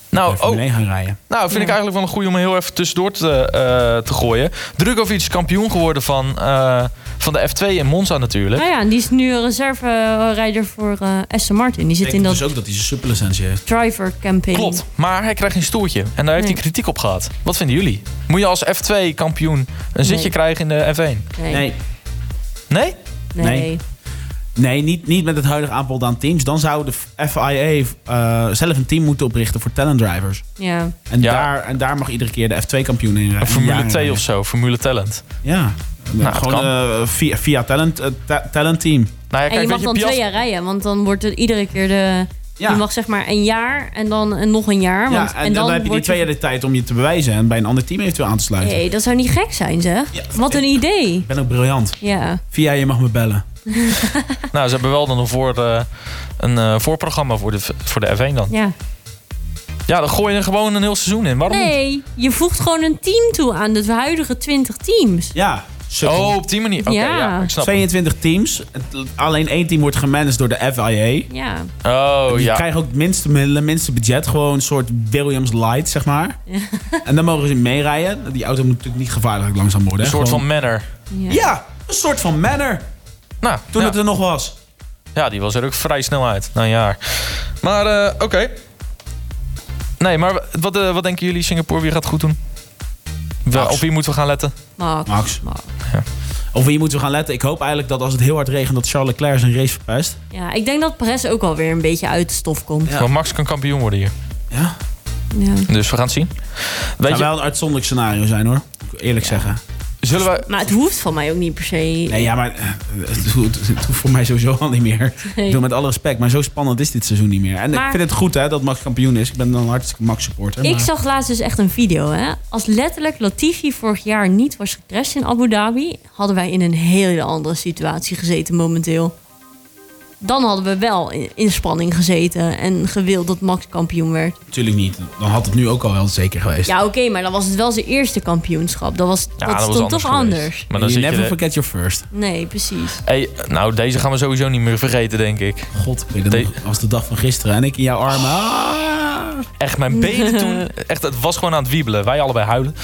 Speaker 1: nou,
Speaker 3: oh,
Speaker 1: oh,
Speaker 3: gaan rijden.
Speaker 1: nou, vind ik
Speaker 2: Ja.
Speaker 1: eigenlijk wel een goeie om heel even tussendoor te, eh, te gooien. Drugovic is kampioen geworden van, eh, van de F2 in Monza natuurlijk.
Speaker 2: Nou ja, en die is nu een reserverijder voor eh Aston Martin. Die zit in dat
Speaker 3: dus ook dat hij zijn superlicentie heeft.
Speaker 2: driver campaign.
Speaker 1: Klopt, maar hij krijgt geen stoeltje. En daar heeft
Speaker 2: Nee.
Speaker 1: hij kritiek op gehad. Wat vinden jullie? Moet je als F2-kampioen een zitje
Speaker 2: Nee.
Speaker 1: krijgen in de F1?
Speaker 2: Nee. Nee.
Speaker 3: Nee,
Speaker 1: Nee?
Speaker 3: Nee. nee niet, niet met het huidige aanbod aan teams. Dan zou de FIA eh, zelf een team moeten oprichten voor talent drivers.
Speaker 2: Ja.
Speaker 3: En,
Speaker 1: Ja.
Speaker 3: daar, en daar mag iedere keer de F2-kampioen in rijden.
Speaker 1: Een Formule 2 of zo, Formule Talent.
Speaker 3: Ja.
Speaker 1: dat
Speaker 3: gewoon
Speaker 1: kan.
Speaker 3: eh, via, via talent, eh, ta- talent team.
Speaker 1: Nou ja,
Speaker 2: en je
Speaker 1: weet
Speaker 2: mag dan
Speaker 1: Piast-
Speaker 2: twee jaar rijden, want dan wordt het iedere keer de...
Speaker 3: Ja.
Speaker 2: Je mag zeg maar een jaar en dan een- nog een jaar. Want,
Speaker 3: ja, en, dan, heb je die
Speaker 2: wordt
Speaker 3: twee jaar
Speaker 2: het-
Speaker 3: de tijd om je te bewijzen en bij een ander team eventueel aan te sluiten.
Speaker 2: hey, dat zou niet gek zijn, zeg.
Speaker 3: Ja.
Speaker 2: Wat een idee.
Speaker 3: Ik ben ook briljant.
Speaker 2: Ja.
Speaker 3: Via je mag me bellen.
Speaker 1: Nou, ze hebben wel dan een, voor, eh, een eh, voorprogramma voor de, voor de F1 dan.
Speaker 2: ja.
Speaker 1: Ja, dan gooi je er gewoon een heel seizoen in. Waarom niet?
Speaker 2: Nee, je voegt gewoon een team toe aan de huidige 20 teams.
Speaker 3: Ja. sukkel.
Speaker 1: Oh, op die manier. Oké, ja.
Speaker 2: Ja.
Speaker 1: ik snap het.
Speaker 3: 22 teams. Het- Alleen één team wordt gemanaged door de FIA.
Speaker 2: Ja.
Speaker 1: Oh,
Speaker 3: Die
Speaker 1: ja.
Speaker 3: krijgen ook het minste middelen, minste budget. Gewoon een soort Williams Light, zeg maar. En dan mogen ze meerijden. Die auto moet natuurlijk niet gevaarlijk langzaam worden.
Speaker 1: Een
Speaker 3: hè.
Speaker 1: soort van
Speaker 3: Gewoon-
Speaker 1: manner.
Speaker 2: Ja.
Speaker 3: Ja, een soort van manner.
Speaker 1: Nou,
Speaker 3: Toen
Speaker 1: ja.
Speaker 3: het er nog was.
Speaker 1: ja, die was er ook vrij snel uit. Na een jaar. Maar, eh, oké. Nee, maar wat, eh, wat denken jullie Singapore? Wie gaat goed doen? Wel,
Speaker 3: Max.
Speaker 1: op wie moeten we gaan letten?
Speaker 2: Max.
Speaker 3: Max. Of hier moeten we gaan letten. Ik hoop eigenlijk dat als het heel hard regent, dat Charles Leclerc zijn race verpest.
Speaker 2: Ja, ik denk dat Perez ook alweer een beetje uit de stof komt.
Speaker 3: Ja.
Speaker 1: Want Max kan kampioen worden hier.
Speaker 3: Ja.
Speaker 2: Ja.
Speaker 1: Dus we gaan het zien. Weet
Speaker 3: Zou
Speaker 1: je,
Speaker 3: wel een uitzonderlijk scenario zijn hoor. Moet ik Eerlijk zeggen.
Speaker 1: zullen we...
Speaker 2: Maar het hoeft van mij ook niet per se.
Speaker 3: Nee, ja, maar eh, het hoeft het hoeft voor mij sowieso al niet meer.
Speaker 2: Nee.
Speaker 3: Ik bedoel, met alle respect, maar zo spannend is dit seizoen niet meer. En ik
Speaker 2: Maar-
Speaker 3: vind het goed hè, dat Max kampioen is. Ik ben dan hartstikke Max supporter.
Speaker 2: Ik
Speaker 3: maar-
Speaker 2: zag laatst dus echt een video. Hè? Als letterlijk Latifi vorig jaar niet was gecrashed in Abu Dhabi, hadden wij in een hele andere situatie gezeten momenteel. Dan hadden we wel in, in spanning gezeten en gewild dat Max kampioen werd.
Speaker 3: Natuurlijk niet. Dan had het nu ook al wel zeker geweest.
Speaker 2: Ja, oké, maar dan was het wel zijn eerste kampioenschap. Dat, was,
Speaker 1: Ja,
Speaker 2: dat,
Speaker 1: was
Speaker 2: stond toch
Speaker 1: geweest.
Speaker 2: anders.
Speaker 1: Maar dan
Speaker 3: you
Speaker 1: zit je
Speaker 3: never
Speaker 1: er-
Speaker 3: forget your first.
Speaker 2: Nee, precies.
Speaker 1: Hey, nou, deze gaan we sowieso niet meer vergeten, denk ik.
Speaker 3: God, ik weet het
Speaker 1: De-
Speaker 3: nog als de dag van gisteren. En ik in jouw armen. Ah.
Speaker 1: Echt, mijn benen toen... Echt, het was gewoon aan het wiebelen. Wij allebei huilen.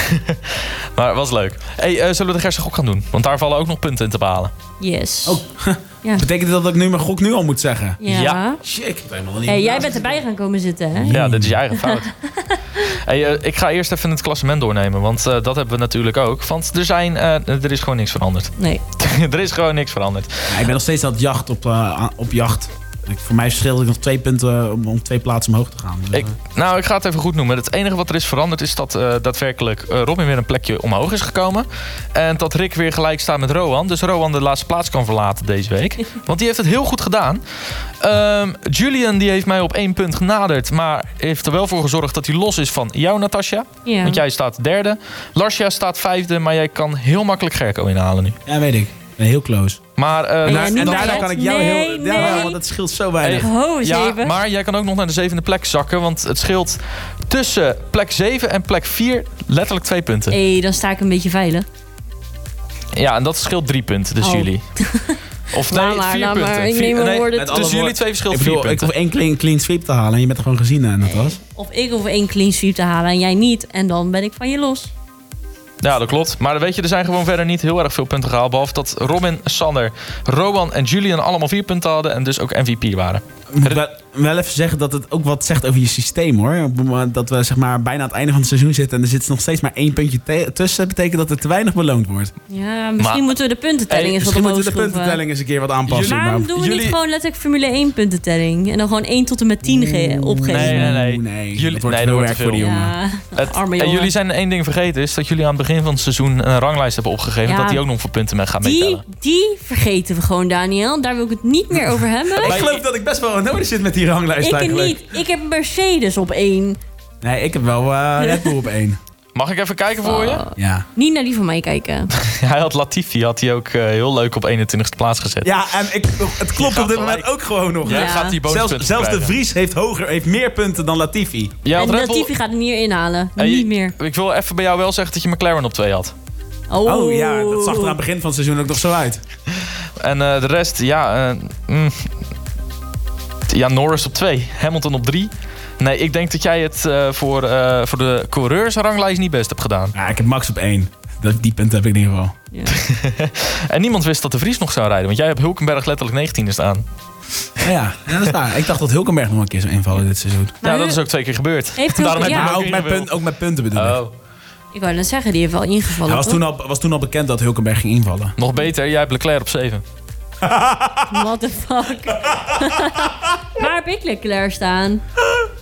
Speaker 1: maar het was leuk. Hey, eh, zullen we de Gersen gok gaan doen? Want daar vallen ook nog punten in te behalen.
Speaker 2: Yes.
Speaker 3: Oh,
Speaker 2: ja.
Speaker 3: betekent dat ik nu mijn gok nu al moet zeggen?
Speaker 2: ja. Eh,
Speaker 1: ja.
Speaker 3: Shit, ik heb het helemaal niet.
Speaker 2: Hey, jij bent erbij gaan komen zitten, hè?
Speaker 1: Ja, dat is je eigen fout. Hey, eh, ik ga eerst even het klassement doornemen. Want eh, dat hebben we natuurlijk ook. Want er, zijn, eh, er is gewoon niks veranderd.
Speaker 2: Nee.
Speaker 1: er is gewoon niks veranderd.
Speaker 3: Ja, ik ben nog steeds aan het jacht op, eh, aan- op jacht. Ik- voor mij verschilde ik nog twee punten om, om twee plaatsen omhoog te gaan. Dus,
Speaker 1: Ik, nou, ik ga het even goed noemen. Het enige wat er is veranderd is dat eh, daadwerkelijk eh, Robin weer een plekje omhoog is gekomen. En dat Rick weer gelijk staat met Rowan. Dus Rowan de laatste plaats kan verlaten deze week. Want die heeft het heel goed gedaan. Ehm, Julian die heeft mij op één punt genaderd. Maar heeft er wel voor gezorgd dat hij los is van jou, Natasja.
Speaker 2: Ja.
Speaker 1: Want jij staat derde. Larsja staat vijfde. Maar jij kan heel makkelijk Gerco inhalen nu.
Speaker 3: eh, ja, weet ik. Ik ben heel close.
Speaker 1: Maar, eh,
Speaker 2: En
Speaker 1: na-
Speaker 2: jij niet?
Speaker 1: en
Speaker 2: bij
Speaker 3: daarna
Speaker 2: het-
Speaker 3: kan ik jou
Speaker 2: Nee,
Speaker 3: heel...
Speaker 2: nee.
Speaker 3: Ja, want dat scheelt zo weinig.
Speaker 2: Ho, eens
Speaker 1: Ja,
Speaker 2: even.
Speaker 1: maar jij kan ook nog naar de zevende plek zakken. Want het scheelt tussen plek 7 en plek 4 letterlijk twee punten.
Speaker 2: hey, dan sta ik een beetje veilig.
Speaker 1: Ja, en dat scheelt drie punten, dus
Speaker 2: Oh.
Speaker 1: jullie. Of nee,
Speaker 2: Laat maar,
Speaker 1: vier
Speaker 2: laat
Speaker 1: punten.
Speaker 2: maar. Ik
Speaker 1: Vier-
Speaker 2: neem mijn
Speaker 1: nee,
Speaker 2: woorden
Speaker 1: het-
Speaker 3: terug.
Speaker 1: Tussen jullie twee
Speaker 3: Ik
Speaker 1: verschilt vier
Speaker 3: bedoel, ik
Speaker 1: punten.
Speaker 3: hoef één clean, clean sweep te halen en je bent er gewoon gezien, eh, Natas.
Speaker 2: Of ik hoef één clean sweep te halen en jij niet. En dan ben ik van je los.
Speaker 1: Ja, dat klopt. Maar weet je, er zijn gewoon verder niet heel erg veel punten gehaald. Behalve dat Robin, Sander, Rowan en Julian allemaal vier punten hadden. En dus ook MVP waren.
Speaker 3: Ik moet wel, wel even zeggen dat het ook wat zegt over je systeem hoor. Op het moment Dat we zeg maar bijna aan het einde van het seizoen zitten en er zit nog steeds maar één puntje te- tussen. Dat betekent dat er te weinig beloond wordt.
Speaker 2: Ja, misschien
Speaker 1: Maar-
Speaker 2: moeten we de puntentelling
Speaker 1: Hey,
Speaker 2: eens wat
Speaker 3: Misschien
Speaker 2: omhoog
Speaker 3: moeten we de
Speaker 2: schroeven.
Speaker 3: puntentelling eens een keer wat aanpassen.
Speaker 1: Jullie-
Speaker 2: Waarom
Speaker 3: maar-
Speaker 2: doen we
Speaker 1: jullie-
Speaker 2: niet gewoon letterlijk Formule 1 puntentelling? En dan gewoon 1 tot en met 10 ge- opgeven?
Speaker 1: Nee, nee, nee.
Speaker 3: Nee,
Speaker 1: Jullie-
Speaker 3: dat wordt
Speaker 1: nee, dat
Speaker 3: veel
Speaker 1: wordt
Speaker 3: werk
Speaker 1: te
Speaker 3: voor die
Speaker 1: veel.
Speaker 3: jongen.
Speaker 2: Ja,
Speaker 1: Het-
Speaker 2: arme
Speaker 1: en
Speaker 2: jongen.
Speaker 1: jullie zijn één ding vergeten. Is dat jullie aan het begin van het seizoen een ranglijst hebben opgegeven.
Speaker 2: Ja.
Speaker 1: Dat die ook nog voor punten mee gaan
Speaker 2: die,
Speaker 1: meetellen.
Speaker 2: die vergeten we gewoon, Daniel. Daar wil ik het niet meer over hebben.
Speaker 3: Ik geloof dat ik best wel nodig zit met die ranglijst
Speaker 2: ik
Speaker 3: eigenlijk.
Speaker 2: niet. Ik heb Mercedes op 1.
Speaker 3: Nee, ik heb wel eh Red Bull op één.
Speaker 1: Mag ik even kijken voor
Speaker 2: Oh.
Speaker 1: je?
Speaker 3: Ja.
Speaker 2: Niet naar die van mij kijken.
Speaker 1: Hij had Latifi had hij ook eh, heel leuk op 21ste plaats gezet.
Speaker 3: Ja, en ik, het klopt
Speaker 1: gaat
Speaker 3: op dit moment
Speaker 1: gelijk.
Speaker 3: ook gewoon nog.
Speaker 1: Jij
Speaker 2: Ja.
Speaker 1: gaat die
Speaker 3: Zelfs,
Speaker 1: bonuspunten
Speaker 3: zelfs de
Speaker 1: krijgen.
Speaker 3: Vries heeft, hoger, heeft meer punten dan Latifi.
Speaker 1: Jij had
Speaker 2: en
Speaker 1: Red Bull-
Speaker 2: Latifi gaat hem hier inhalen.
Speaker 1: Hey,
Speaker 2: niet meer.
Speaker 1: Ik wil even bij jou wel zeggen dat je McLaren op 2 had.
Speaker 2: Oh,
Speaker 3: Oh ja, dat zag er aan het begin van het seizoen ook nog zo uit.
Speaker 1: En eh, de rest, ja. eh, mm. ja, Norris op 2, Hamilton op 3. Nee, ik denk dat jij het eh, voor, eh, voor de coureursranglijst niet best hebt gedaan.
Speaker 3: Ja, ik heb Max op één. Dat, die punten heb ik in ieder geval.
Speaker 2: Ja.
Speaker 1: En niemand wist dat de Vries nog zou rijden, want jij hebt Hulkenberg letterlijk 19e staan.
Speaker 3: Ja, Oh ja, dat is waar. Ik dacht dat Hulkenberg nog een keer zou invallen dit seizoen.
Speaker 2: Maar
Speaker 1: ja, dat
Speaker 2: nu-
Speaker 1: is ook twee keer gebeurd.
Speaker 2: Nou, Heeft
Speaker 1: Daarom
Speaker 2: Hulken-
Speaker 1: heb
Speaker 2: ja,
Speaker 1: ik
Speaker 3: Maar Nou, ook met, punt, ook met punten bedoel ik.
Speaker 1: Oh,
Speaker 2: ik wou net zeggen, die heeft wel ingevallen.
Speaker 3: Hij Uh, was
Speaker 2: toch?
Speaker 3: toen, al, was toen al bekend dat Hulkenberg ging invallen.
Speaker 1: nog beter, jij hebt Leclerc op 7.
Speaker 2: What the fuck? Waar heb ik Leclerc staan?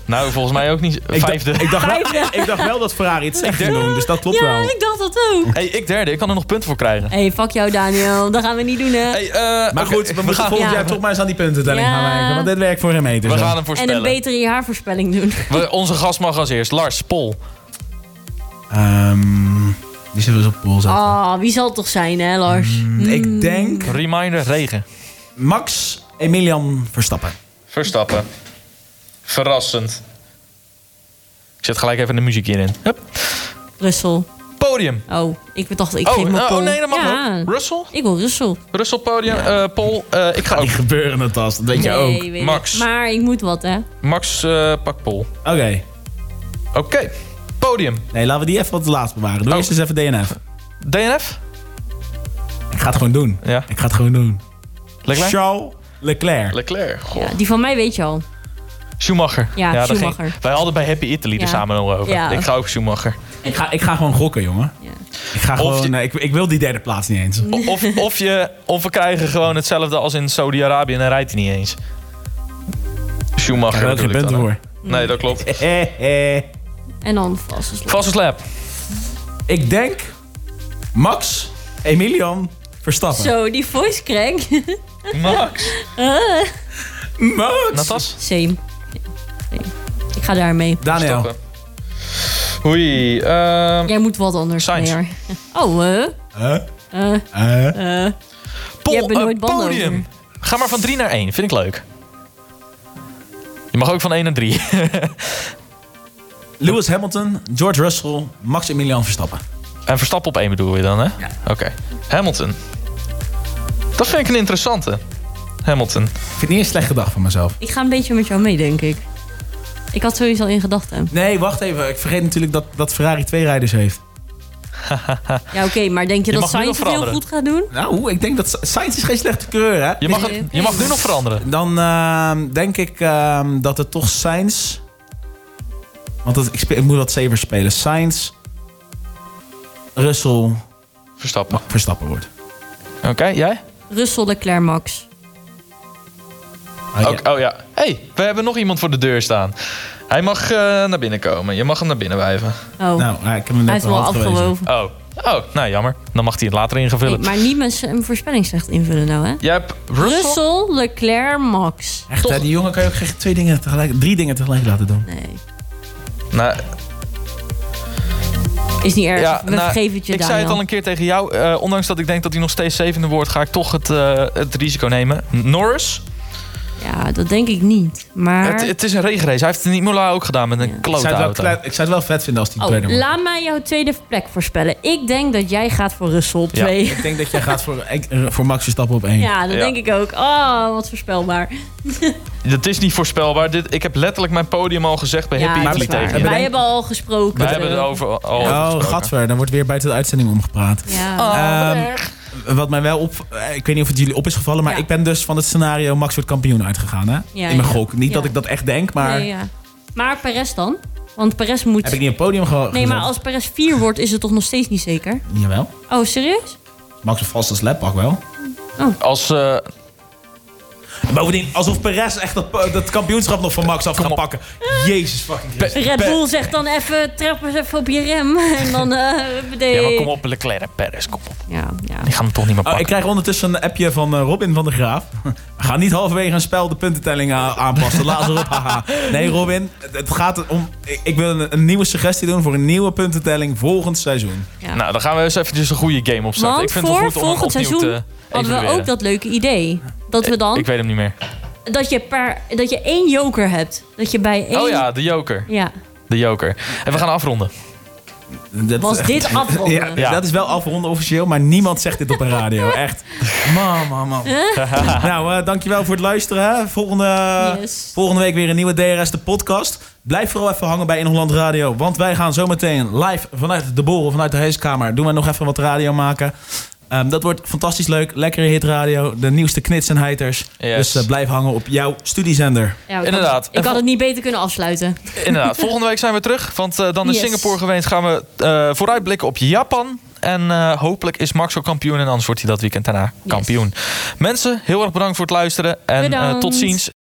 Speaker 1: Nou, volgens mij ook niet.
Speaker 3: Ik dacht,
Speaker 1: Vijfde.
Speaker 3: ik, dacht
Speaker 2: Vijfde.
Speaker 3: wel, ik dacht wel dat Ferrari het slecht ging doen, dus dat klopt
Speaker 2: ja,
Speaker 3: wel.
Speaker 2: ik dacht dat ook.
Speaker 1: hey, ik derde, ik kan er nog punten voor krijgen.
Speaker 2: hey, fuck jou Daniel. Dat gaan we niet doen hè.
Speaker 1: Hey, eh,
Speaker 3: Maar
Speaker 1: oké,
Speaker 3: goed, we, moeten
Speaker 1: gaan,
Speaker 3: volgend
Speaker 2: Ja.
Speaker 3: jaar toch maar eens aan die puntentelling
Speaker 2: Ja.
Speaker 3: gaan werken. Want dit werkt voor hem mee. dus
Speaker 1: we
Speaker 3: dan.
Speaker 1: gaan hem
Speaker 2: en een
Speaker 1: voorspellen.
Speaker 2: betere jaarvoorspelling doen.
Speaker 1: We- onze gast mag als eerst. Lars, Pol.
Speaker 3: Ehm, die zullen we eens op pool zetten.
Speaker 2: Oh, wie zal het toch zijn hè, Lars?
Speaker 1: Mm.
Speaker 3: Ik denk
Speaker 1: Reminder, regen.
Speaker 3: Max Emilian Verstappen.
Speaker 1: Verstappen. Verrassend. Ik zet gelijk even de muziek hierin. Hup.
Speaker 2: Russell.
Speaker 1: Podium.
Speaker 2: Oh, ik dacht ik
Speaker 1: oh,
Speaker 2: geef mijn
Speaker 1: eh,
Speaker 2: pol.
Speaker 1: oh nee, dat mag
Speaker 2: ja.
Speaker 1: ook. Russell?
Speaker 2: Ik wil Russell.
Speaker 1: Russell podium. Eh, Pol, eh, ik ga ook.
Speaker 3: gebeuren het als, dat weet
Speaker 2: Oh. nee, weet ik.
Speaker 1: Max.
Speaker 2: Maar ik moet wat hè.
Speaker 1: Max, eh pak Pol.
Speaker 3: Oké,
Speaker 1: Oké. Podium.
Speaker 3: nee, laten we die even wat laatst bewaren. Doe
Speaker 1: Oh.
Speaker 3: eerst eens even DNF.
Speaker 1: DNF?
Speaker 3: Ik ga het gewoon doen.
Speaker 1: Ja.
Speaker 3: Ik ga het gewoon doen.
Speaker 1: Leclerc?
Speaker 3: Charles Leclerc.
Speaker 1: Leclerc. Goh.
Speaker 2: Ja, die van mij weet je al.
Speaker 1: Schumacher.
Speaker 2: Ja,
Speaker 1: daar ging-
Speaker 2: Schumacher.
Speaker 1: wij hadden bij Happy Italy
Speaker 2: Ja.
Speaker 1: er samen nog over.
Speaker 2: Ja.
Speaker 1: Ik ga ook Schumacher.
Speaker 3: Ik, ga, ik ga gewoon gokken, jongen.
Speaker 2: Ja.
Speaker 3: Ik, ga gewoon,
Speaker 1: je-
Speaker 3: nee, ik, ik wil die derde plaats niet eens.
Speaker 1: O- Of, of, je, of we krijgen gewoon hetzelfde als in Saudi-Arabië en dan rijdt hij niet eens.
Speaker 3: Daar
Speaker 1: Schumacher.
Speaker 3: heb ik geen
Speaker 1: bedoel ik
Speaker 3: punten
Speaker 1: dan, hè?
Speaker 3: voor.
Speaker 1: Nee, dat klopt.
Speaker 3: Eh, eh.
Speaker 2: En dan vast als
Speaker 1: Vaste slap.
Speaker 3: Ik denk Max Emilian Verstappen.
Speaker 2: Zo, die voice crack.
Speaker 1: Max.
Speaker 3: Max!
Speaker 1: Natas.
Speaker 2: Same. Nee. Ik ga daar mee.
Speaker 3: Daniel.
Speaker 1: Stappen. Oei. ehm,
Speaker 2: Jij moet wat anders.
Speaker 1: Sainz.
Speaker 2: nee, hoor. Oh, eh.
Speaker 3: Huh?
Speaker 2: eh,
Speaker 3: Eh?
Speaker 2: eh.
Speaker 1: Pol,
Speaker 2: Je hebt er
Speaker 1: eh,
Speaker 2: nooit banden
Speaker 1: podium. Ga maar van 3 naar 1. Vind ik leuk. Je mag ook van 1 naar 3.
Speaker 3: Lewis Hamilton, George Russell, Max Emilian Verstappen.
Speaker 1: en Verstappen op 1 bedoel je dan, hè?
Speaker 3: Ja.
Speaker 1: Oké. Hamilton. Dat vind ik een interessante. Hamilton.
Speaker 3: Ik vind het niet een slechte dag van mezelf.
Speaker 2: Ik ga een beetje met jou mee, denk ik. Ik had sowieso al in gedachten.
Speaker 3: Nee, wacht even. Ik vergeet natuurlijk dat, dat Ferrari twee rijders heeft.
Speaker 2: Ja, oké, maar denk je,
Speaker 1: Je
Speaker 2: dat
Speaker 1: mag nu nog
Speaker 2: Sainz het heel
Speaker 1: veranderen.
Speaker 2: goed gaat doen?
Speaker 3: Nou, ik denk dat Sa- Sainz is geen slechte coureur, hè?
Speaker 1: Je mag,
Speaker 2: Nee, oké.
Speaker 1: je mag nu nog veranderen.
Speaker 3: Dan ehm, denk ik ehm, dat het toch Sainz... Want het, ik, speel- ik moet wat saver spelen. Sainz, Russell, oh,
Speaker 1: Verstappen.
Speaker 3: Verstappen wordt.
Speaker 1: Oké, jij?
Speaker 2: Russell, Leclerc, Max.
Speaker 3: Ah, ja.
Speaker 1: Ook- oh ja. Hé, hey, we hebben nog iemand voor de deur staan. Hij mag eh, naar binnen komen. Je mag hem naar binnen wijven.
Speaker 2: Oh,
Speaker 3: Nou, ja, ik heb hem
Speaker 2: hij
Speaker 3: net
Speaker 2: is wel
Speaker 3: al afgewezen.
Speaker 2: afgelopen.
Speaker 1: Oh. Oh, nou jammer. Dan mag hij het later in gaan
Speaker 2: Nee,
Speaker 1: vullen.
Speaker 2: maar niet met zijn voorspelling slecht invullen nou, hè?
Speaker 1: Jij hebt
Speaker 2: Russell,
Speaker 1: Russell.
Speaker 2: Leclerc, Max.
Speaker 3: Echt, hè, die jongen kan je ook geen twee dingen tegelijk, drie dingen tegelijk laten doen.
Speaker 2: Nee,
Speaker 1: Nou,
Speaker 2: is niet erg.
Speaker 1: Ja,
Speaker 2: We
Speaker 1: nou,
Speaker 2: vergeven het je,
Speaker 1: ik
Speaker 2: Daniel.
Speaker 1: zei het al een keer tegen jou. eh, ondanks dat ik denk dat hij nog steeds zevende wordt, ga ik toch het, eh, het risico nemen. Norris,
Speaker 2: Ja, Ja, dat denk ik niet. Maar.
Speaker 1: Het, het is een regenrace. Hij heeft het in Imola ook gedaan met een
Speaker 2: Ja.
Speaker 1: klote
Speaker 3: zou het wel
Speaker 1: auto.
Speaker 3: kle- ik zou het wel vet vinden als die
Speaker 2: Oh,
Speaker 3: tweede wordt.
Speaker 2: laat mij jouw tweede plek voorspellen. Ik denk dat jij gaat voor Russell op
Speaker 1: Ja.
Speaker 2: twee. Ja,
Speaker 3: Ik denk dat
Speaker 4: Jij
Speaker 3: jij gaat...
Speaker 4: gaat voor, ik- eh, voor Max Verstappen op één.
Speaker 2: dat
Speaker 1: Ja.
Speaker 2: denk ik ook. Oh, wat voorspelbaar.
Speaker 1: Dat is niet voorspelbaar. Dit, ik heb letterlijk mijn podium al gezegd bij
Speaker 2: ja,
Speaker 1: Happy
Speaker 2: dat
Speaker 1: Italy
Speaker 2: is waar.
Speaker 1: tegen
Speaker 4: En
Speaker 1: je.
Speaker 2: Wij
Speaker 4: bedenk-
Speaker 2: hebben al gesproken.
Speaker 1: Wij hebben het over, al over
Speaker 3: Oh,
Speaker 1: gesproken.
Speaker 3: gadver. Dan wordt weer buiten de uitzending omgepraat.
Speaker 2: Ja.
Speaker 3: Ehm, wat mij wel op... eh, Ik weet niet of het jullie op is gevallen, maar
Speaker 2: Ja.
Speaker 3: ik ben dus van het scenario Max wordt kampioen uitgegaan, hè? In mijn
Speaker 2: ja.
Speaker 3: gok. Niet
Speaker 2: Ja.
Speaker 3: dat ik dat echt denk, maar...
Speaker 2: Nee, ja. Maar Perez dan? Want Perez moet...
Speaker 3: Heb ik niet op het podium ge
Speaker 2: Nee, maar
Speaker 3: gezet?
Speaker 2: als Perez 4 wordt, is het toch nog steeds niet zeker?
Speaker 3: Jawel.
Speaker 2: Oh, serieus?
Speaker 3: Max een vaste slappak wel.
Speaker 1: Als, eh,
Speaker 3: Bovendien, alsof Perez echt dat, dat kampioenschap nog van Max af gaat pakken. Jezus fucking Christus.
Speaker 2: Red Bull zegt dan even, trap eens even op je rem. En dan... eh de...
Speaker 1: ja, maar kom op, Leclerc, Perez, kom op.
Speaker 2: Ja, ja.
Speaker 1: Die gaan hem toch niet meer
Speaker 3: Oh,
Speaker 1: pakken.
Speaker 3: ik krijg ondertussen een appje van eh, Robin van der Graaf. We gaan niet halverwege een spel de puntentelling a- aanpassen. Laat ze erop. haha. Nee, Robin. het- Het gaat om... Ik, ik wil een, een nieuwe suggestie doen voor een nieuwe puntentelling volgend seizoen.
Speaker 2: Ja.
Speaker 1: Nou, dan gaan we eens eventjes een goede game opzetten.
Speaker 2: Want
Speaker 1: ik vind
Speaker 2: voor
Speaker 1: het wel goed om hem
Speaker 2: volgend
Speaker 1: opnieuw
Speaker 2: seizoen
Speaker 1: te
Speaker 2: Hadden we
Speaker 1: evalueren.
Speaker 2: ook dat leuke idee. Dat we dan...
Speaker 1: Ik weet hem niet meer.
Speaker 2: Dat, je per, dat je één joker hebt. Dat je bij één...
Speaker 1: Oh ja, de joker.
Speaker 2: Ja.
Speaker 1: De joker. En we gaan afronden.
Speaker 3: Dat,
Speaker 2: Was dit afronden?
Speaker 3: Ja, dus
Speaker 1: Ja.
Speaker 3: dat is wel afronden officieel, maar niemand zegt dit op een radio. Echt. Man, man, man. nou, eh, dankjewel voor het luisteren. Hè. Volgende,
Speaker 2: Yes.
Speaker 3: volgende week weer een nieuwe DRS, de podcast. Blijf vooral even hangen bij In Holland Radio. Want wij gaan zometeen live vanuit de borrel, vanuit de huiskamer... doen we nog even wat radio maken. Ehm, dat wordt fantastisch leuk. Lekkere hitradio, de nieuwste knits en heiters.
Speaker 1: Yes.
Speaker 3: Dus eh, blijf hangen op jouw studiezender.
Speaker 2: Ja, ik
Speaker 1: Inderdaad.
Speaker 2: Had,
Speaker 1: En
Speaker 2: ik had
Speaker 1: vol-
Speaker 2: het niet beter kunnen afsluiten.
Speaker 1: Inderdaad. Volgende week zijn we terug. Want eh, dan is
Speaker 2: Yes.
Speaker 1: Singapore geweest. Gaan we eh, vooruitblikken op Japan. En eh, hopelijk is Max ook kampioen. En anders wordt hij dat weekend daarna
Speaker 2: Yes.
Speaker 1: kampioen. Mensen, heel erg bedankt voor het luisteren. En eh,
Speaker 2: Bedankt.
Speaker 1: tot ziens.